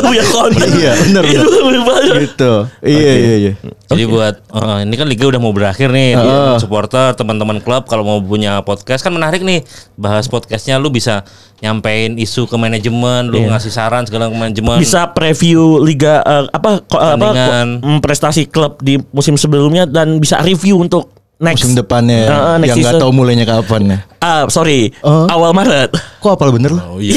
[SPEAKER 3] punya konten.
[SPEAKER 4] Iya, benar,
[SPEAKER 3] Itu lebih banyak.
[SPEAKER 4] Gitu. Iya, iya, iya.
[SPEAKER 3] Oh,
[SPEAKER 2] Jadi buat eh, ini kan liga udah mau berakhir nih,
[SPEAKER 4] Heeh.
[SPEAKER 2] supporter teman-teman klub kalau mau punya podcast kan menarik nih. Bahas podcastnya lu bisa nyampein isu ke manajemen, lu ngasih saran segala ke manajemen.
[SPEAKER 3] Iya. Bisa preview liga eh, apa ko- apa
[SPEAKER 2] Pertandingan.
[SPEAKER 3] mm, prestasi klub di musim sebelumnya dan bisa review untuk next
[SPEAKER 4] Musim depannya
[SPEAKER 3] Eh,
[SPEAKER 4] ya,
[SPEAKER 3] eh, next
[SPEAKER 4] yang nggak
[SPEAKER 3] season.
[SPEAKER 4] tahu mulainya kapan ya.
[SPEAKER 3] Ah, sorry.
[SPEAKER 4] Oh.
[SPEAKER 3] Awal Maret.
[SPEAKER 4] Kok apal bener
[SPEAKER 3] Ah.
[SPEAKER 2] Oh
[SPEAKER 4] lu?
[SPEAKER 2] iya.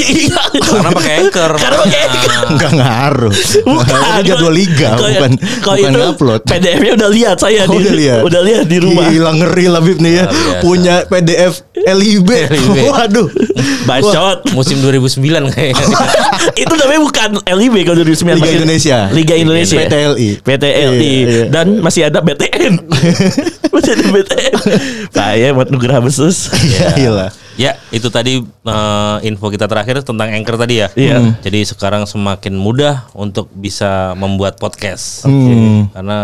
[SPEAKER 2] Karena pakai anchor. Nah,
[SPEAKER 3] Karena pakai anchor.
[SPEAKER 4] Enggak ngaruh. Ini jadwal liga
[SPEAKER 3] Kalau-
[SPEAKER 4] bukan
[SPEAKER 3] kalau
[SPEAKER 4] bukan
[SPEAKER 3] ya- itu
[SPEAKER 4] upload.
[SPEAKER 3] PDF-nya udah lihat saya
[SPEAKER 4] Oh,
[SPEAKER 3] di,
[SPEAKER 4] udah lihat.
[SPEAKER 3] udah lihat di rumah.
[SPEAKER 4] Gila ngeri lah Bib nih ya.
[SPEAKER 2] Luar biasa.
[SPEAKER 4] Punya PDF LIB.
[SPEAKER 2] LIB.
[SPEAKER 4] Waduh.
[SPEAKER 3] Bacot.
[SPEAKER 2] Musim 2009 kayaknya.
[SPEAKER 3] itu namanya bukan LIB kalau 2009
[SPEAKER 4] Liga
[SPEAKER 3] masih-
[SPEAKER 4] Indonesia.
[SPEAKER 3] Liga Indonesia
[SPEAKER 4] PTLI.
[SPEAKER 3] PTLI
[SPEAKER 4] Iya, iya.
[SPEAKER 3] dan masih ada BTN masih ada BTN saya buat Nugraha Besus
[SPEAKER 4] Iya. Gila.
[SPEAKER 2] ya, itu tadi eh, info kita terakhir tentang anchor tadi ya.
[SPEAKER 3] Iya.
[SPEAKER 2] Hmm. Jadi sekarang semakin mudah untuk bisa membuat podcast. Karena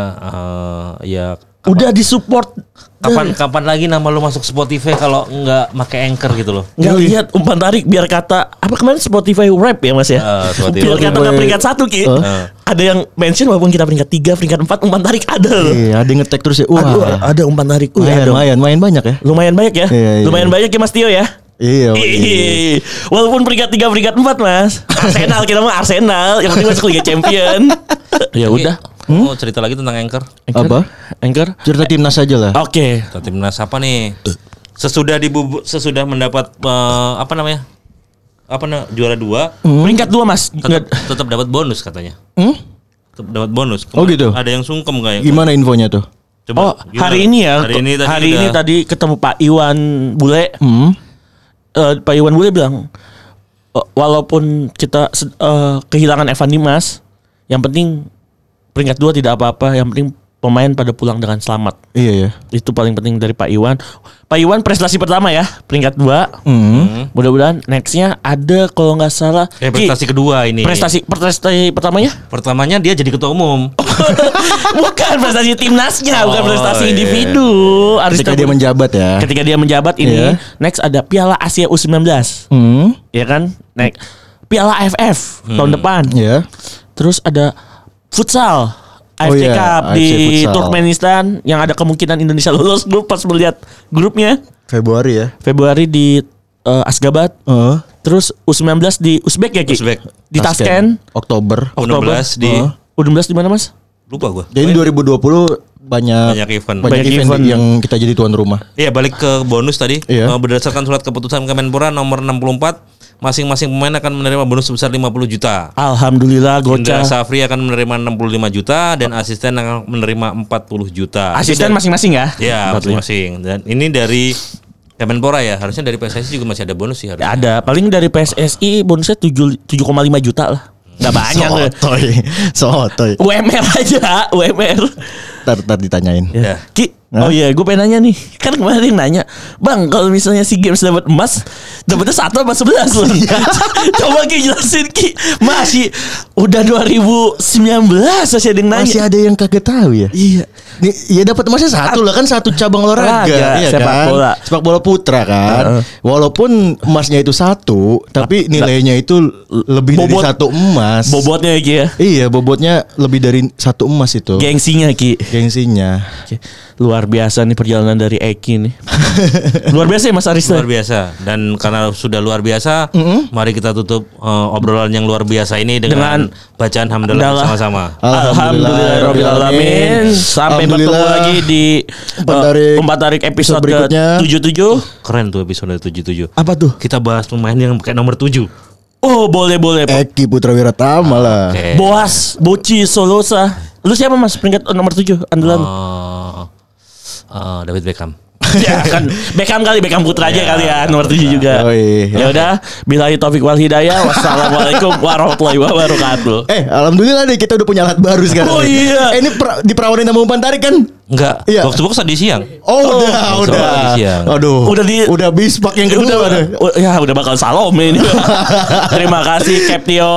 [SPEAKER 2] eh, ya
[SPEAKER 3] udah disupport
[SPEAKER 2] kapan kapan lagi nama lu masuk Spotify kalau nggak pakai anchor gitu loh.
[SPEAKER 3] nggak
[SPEAKER 4] Yoi.
[SPEAKER 3] lihat umpan tarik biar kata apa kemarin Spotify Rap ya mas ya
[SPEAKER 2] Ah, Spotify
[SPEAKER 3] biar kata nggak
[SPEAKER 4] Rap.
[SPEAKER 3] peringkat satu ki
[SPEAKER 2] Ah.
[SPEAKER 3] ada yang mention walaupun kita peringkat tiga peringkat empat umpan tarik ada loh
[SPEAKER 4] Iya, ada yang ngetek terus ya.
[SPEAKER 3] Aduh,
[SPEAKER 4] Wah.
[SPEAKER 3] ada umpan tarik Wih,
[SPEAKER 4] Lumayan,
[SPEAKER 3] ada.
[SPEAKER 4] lumayan, lumayan banyak ya.
[SPEAKER 3] lumayan banyak ya
[SPEAKER 4] Iya, iya.
[SPEAKER 3] lumayan banyak ya mas Tio ya
[SPEAKER 4] Iya. iya.
[SPEAKER 3] Ih, Walaupun peringkat 3 peringkat 4 mas Arsenal kita mah Arsenal Yang penting masuk Liga Champion Ya
[SPEAKER 2] Oke,
[SPEAKER 3] udah
[SPEAKER 2] Mau cerita lagi tentang anchor.
[SPEAKER 4] Apa? Ah.
[SPEAKER 3] Anchor
[SPEAKER 4] Cerita timnas aja lah.
[SPEAKER 3] Oke
[SPEAKER 2] Atau Timnas apa nih? Sesudah dibubu sesudah mendapat eh, apa namanya? Apa na- juara dua
[SPEAKER 3] Peringkat 2 mas
[SPEAKER 2] tetap,
[SPEAKER 3] Nggak-
[SPEAKER 2] tetap dapat bonus katanya.
[SPEAKER 4] Hmm?
[SPEAKER 2] Tetap dapat bonus.
[SPEAKER 4] Oh, gitu?
[SPEAKER 2] Ada yang sungkem kayak.
[SPEAKER 4] Gimana infonya tuh?
[SPEAKER 2] Coba,
[SPEAKER 3] Oh
[SPEAKER 2] gimana?
[SPEAKER 3] hari ini ya
[SPEAKER 2] Hari ini tadi.
[SPEAKER 3] hari ini
[SPEAKER 2] udah-
[SPEAKER 3] tadi ketemu Pak Iwan Bule
[SPEAKER 4] Hmm.
[SPEAKER 3] Eh, Pak Iwan Bule bilang "Eh, Walaupun kita se- eh, kehilangan Evan Dimas Yang penting peringkat 2 tidak apa-apa Yang penting pemain pada pulang dengan selamat
[SPEAKER 4] Iya ya.
[SPEAKER 3] itu paling penting dari Pak Iwan. Pak Iwan prestasi pertama ya, peringkat 2.
[SPEAKER 4] Hmm.
[SPEAKER 3] Mudah-mudahan nextnya ada kalau nggak salah
[SPEAKER 2] Eh, prestasi
[SPEAKER 3] Ki,
[SPEAKER 2] kedua ini.
[SPEAKER 3] prestasi Oh, prestasi pertamanya
[SPEAKER 2] pertamanya dia jadi ketua umum.
[SPEAKER 3] bukan prestasi timnasnya, bukan
[SPEAKER 2] Oh,
[SPEAKER 3] prestasi
[SPEAKER 2] iya.
[SPEAKER 3] individu. Harus
[SPEAKER 4] Ketika
[SPEAKER 3] kita-
[SPEAKER 4] dia menjabat ya.
[SPEAKER 3] ketika dia menjabat ini,
[SPEAKER 4] Iya.
[SPEAKER 3] next ada Piala Asia U19,
[SPEAKER 4] Hmm.
[SPEAKER 3] ya kan? Next Piala AFF tahun depan.
[SPEAKER 4] Ya.
[SPEAKER 3] Terus ada futsal AFC
[SPEAKER 4] iya,
[SPEAKER 3] Cup
[SPEAKER 4] AFC
[SPEAKER 3] di
[SPEAKER 4] futsal.
[SPEAKER 3] Turkmenistan yang ada kemungkinan Indonesia lolos. Gue pas melihat grupnya
[SPEAKER 4] Februari ya.
[SPEAKER 3] Februari di eh, Asgabat.
[SPEAKER 4] Heeh.
[SPEAKER 3] Terus U19 di Uzbek ya Ki?
[SPEAKER 2] Uzbek.
[SPEAKER 3] Di Tashkent.
[SPEAKER 4] Oktober.
[SPEAKER 3] Oktober.
[SPEAKER 2] 16 di
[SPEAKER 3] Heeh. U16 di mana Mas?
[SPEAKER 2] lupa gua.
[SPEAKER 4] Jadi 2020 banyak
[SPEAKER 2] Banyak event.
[SPEAKER 4] banyak
[SPEAKER 3] Banyak
[SPEAKER 4] event
[SPEAKER 3] event.
[SPEAKER 4] yang kita jadi tuan rumah.
[SPEAKER 2] Iya balik ke bonus tadi
[SPEAKER 4] Iya.
[SPEAKER 2] Eh, Berdasarkan surat keputusan Kemenpora nomor 64 Masing-masing pemain akan menerima bonus sebesar 50 juta
[SPEAKER 3] Alhamdulillah
[SPEAKER 2] Indra
[SPEAKER 3] gocah.
[SPEAKER 2] Safri akan menerima 65 juta Dan asisten akan menerima 40 juta
[SPEAKER 3] Asisten masing-masing ya?
[SPEAKER 2] Ya
[SPEAKER 3] Empat lima.
[SPEAKER 2] masing-masing Dan ini dari Kemenpora ya Harusnya dari PSSI juga masih ada bonus sih harusnya
[SPEAKER 3] Ya Ada paling dari PSSI bonusnya 7 7,5 juta lah. Enggak banyak. loh.
[SPEAKER 4] Sotoy. Sotoy.
[SPEAKER 3] UMR aja, UMR.
[SPEAKER 4] Ntar, ntar ditanyain.
[SPEAKER 2] Ya.
[SPEAKER 3] Ki, oh iya, gue pengen nanya nih. Kan kemarin ada yang nanya, Bang, kalau misalnya si games dapat emas, dapatnya satu apa sebelas loh. Coba Ki jelasin Ki, masih udah 2019 masih ada yang nanya.
[SPEAKER 4] Masih ada yang kagak tahu ya.
[SPEAKER 3] Iya.
[SPEAKER 4] Nih, ya dapat emasnya satu lah kan satu cabang olahraga,
[SPEAKER 3] Olahraga,
[SPEAKER 4] iya
[SPEAKER 3] sepak
[SPEAKER 4] kan?
[SPEAKER 3] bola.
[SPEAKER 4] Sepak bola putra kan. Walaupun emasnya itu satu, tapi nilainya itu lebih
[SPEAKER 3] Bobot.
[SPEAKER 4] dari satu emas.
[SPEAKER 3] Bobotnya ya Ki ya.
[SPEAKER 4] Iya, bobotnya lebih dari satu emas itu.
[SPEAKER 3] Gengsinya Ki.
[SPEAKER 4] Gengsinya.
[SPEAKER 3] Oke. Luar biasa nih perjalanan dari Eki nih. Luar biasa ya Mas Arista.
[SPEAKER 2] Luar biasa Dan karena sudah luar biasa Mari kita tutup eh, obrolan yang luar biasa ini Dengan, bacaan hamdalah
[SPEAKER 3] Hamdalah.
[SPEAKER 2] bersama-sama
[SPEAKER 3] Alhamdulillah Rabbil Alamin. Sampai bertemu
[SPEAKER 4] Alhamdulillah.
[SPEAKER 3] lagi di
[SPEAKER 4] Empat Tarik.
[SPEAKER 3] Empat Tarik episode
[SPEAKER 4] berikutnya.
[SPEAKER 3] ke-77.
[SPEAKER 2] Keren tuh episode 77
[SPEAKER 3] Apa tuh?
[SPEAKER 2] Kita bahas pemain yang pakai nomor 7
[SPEAKER 3] Oh boleh boleh. Ah,
[SPEAKER 4] Eh. Eki Putra Wiratama lah.
[SPEAKER 2] Oke.
[SPEAKER 3] Boas, Boci, Solosa, Lu siapa mas peringkat oh, nomor 7 andalan?
[SPEAKER 2] Oh, eh, David Beckham.
[SPEAKER 3] ya kan Beckham kali Beckham Putra aja kali ya nomor 7 juga.
[SPEAKER 4] Oh, iya.
[SPEAKER 3] Ya udah, bilahi taufik wal hidayah. Wassalamualaikum warahmatullahi wabarakatuh.
[SPEAKER 4] Eh, alhamdulillah deh kita udah punya alat baru sekarang.
[SPEAKER 3] Oh,
[SPEAKER 4] nih.
[SPEAKER 3] iya.
[SPEAKER 4] Eh, ini pra- diperawanin sama umpan tarik kan?
[SPEAKER 2] Enggak,
[SPEAKER 4] Iya.
[SPEAKER 2] box to box tadi siang.
[SPEAKER 4] Oh, udah,
[SPEAKER 2] Oh,
[SPEAKER 4] udah.
[SPEAKER 2] tadi siang.
[SPEAKER 4] Aduh.
[SPEAKER 3] iya. Udah di-
[SPEAKER 4] Eh, udah bispak yang kedua.
[SPEAKER 3] udah,
[SPEAKER 4] deh.
[SPEAKER 3] u- ya udah bakal salome ini. Terima kasih Captio.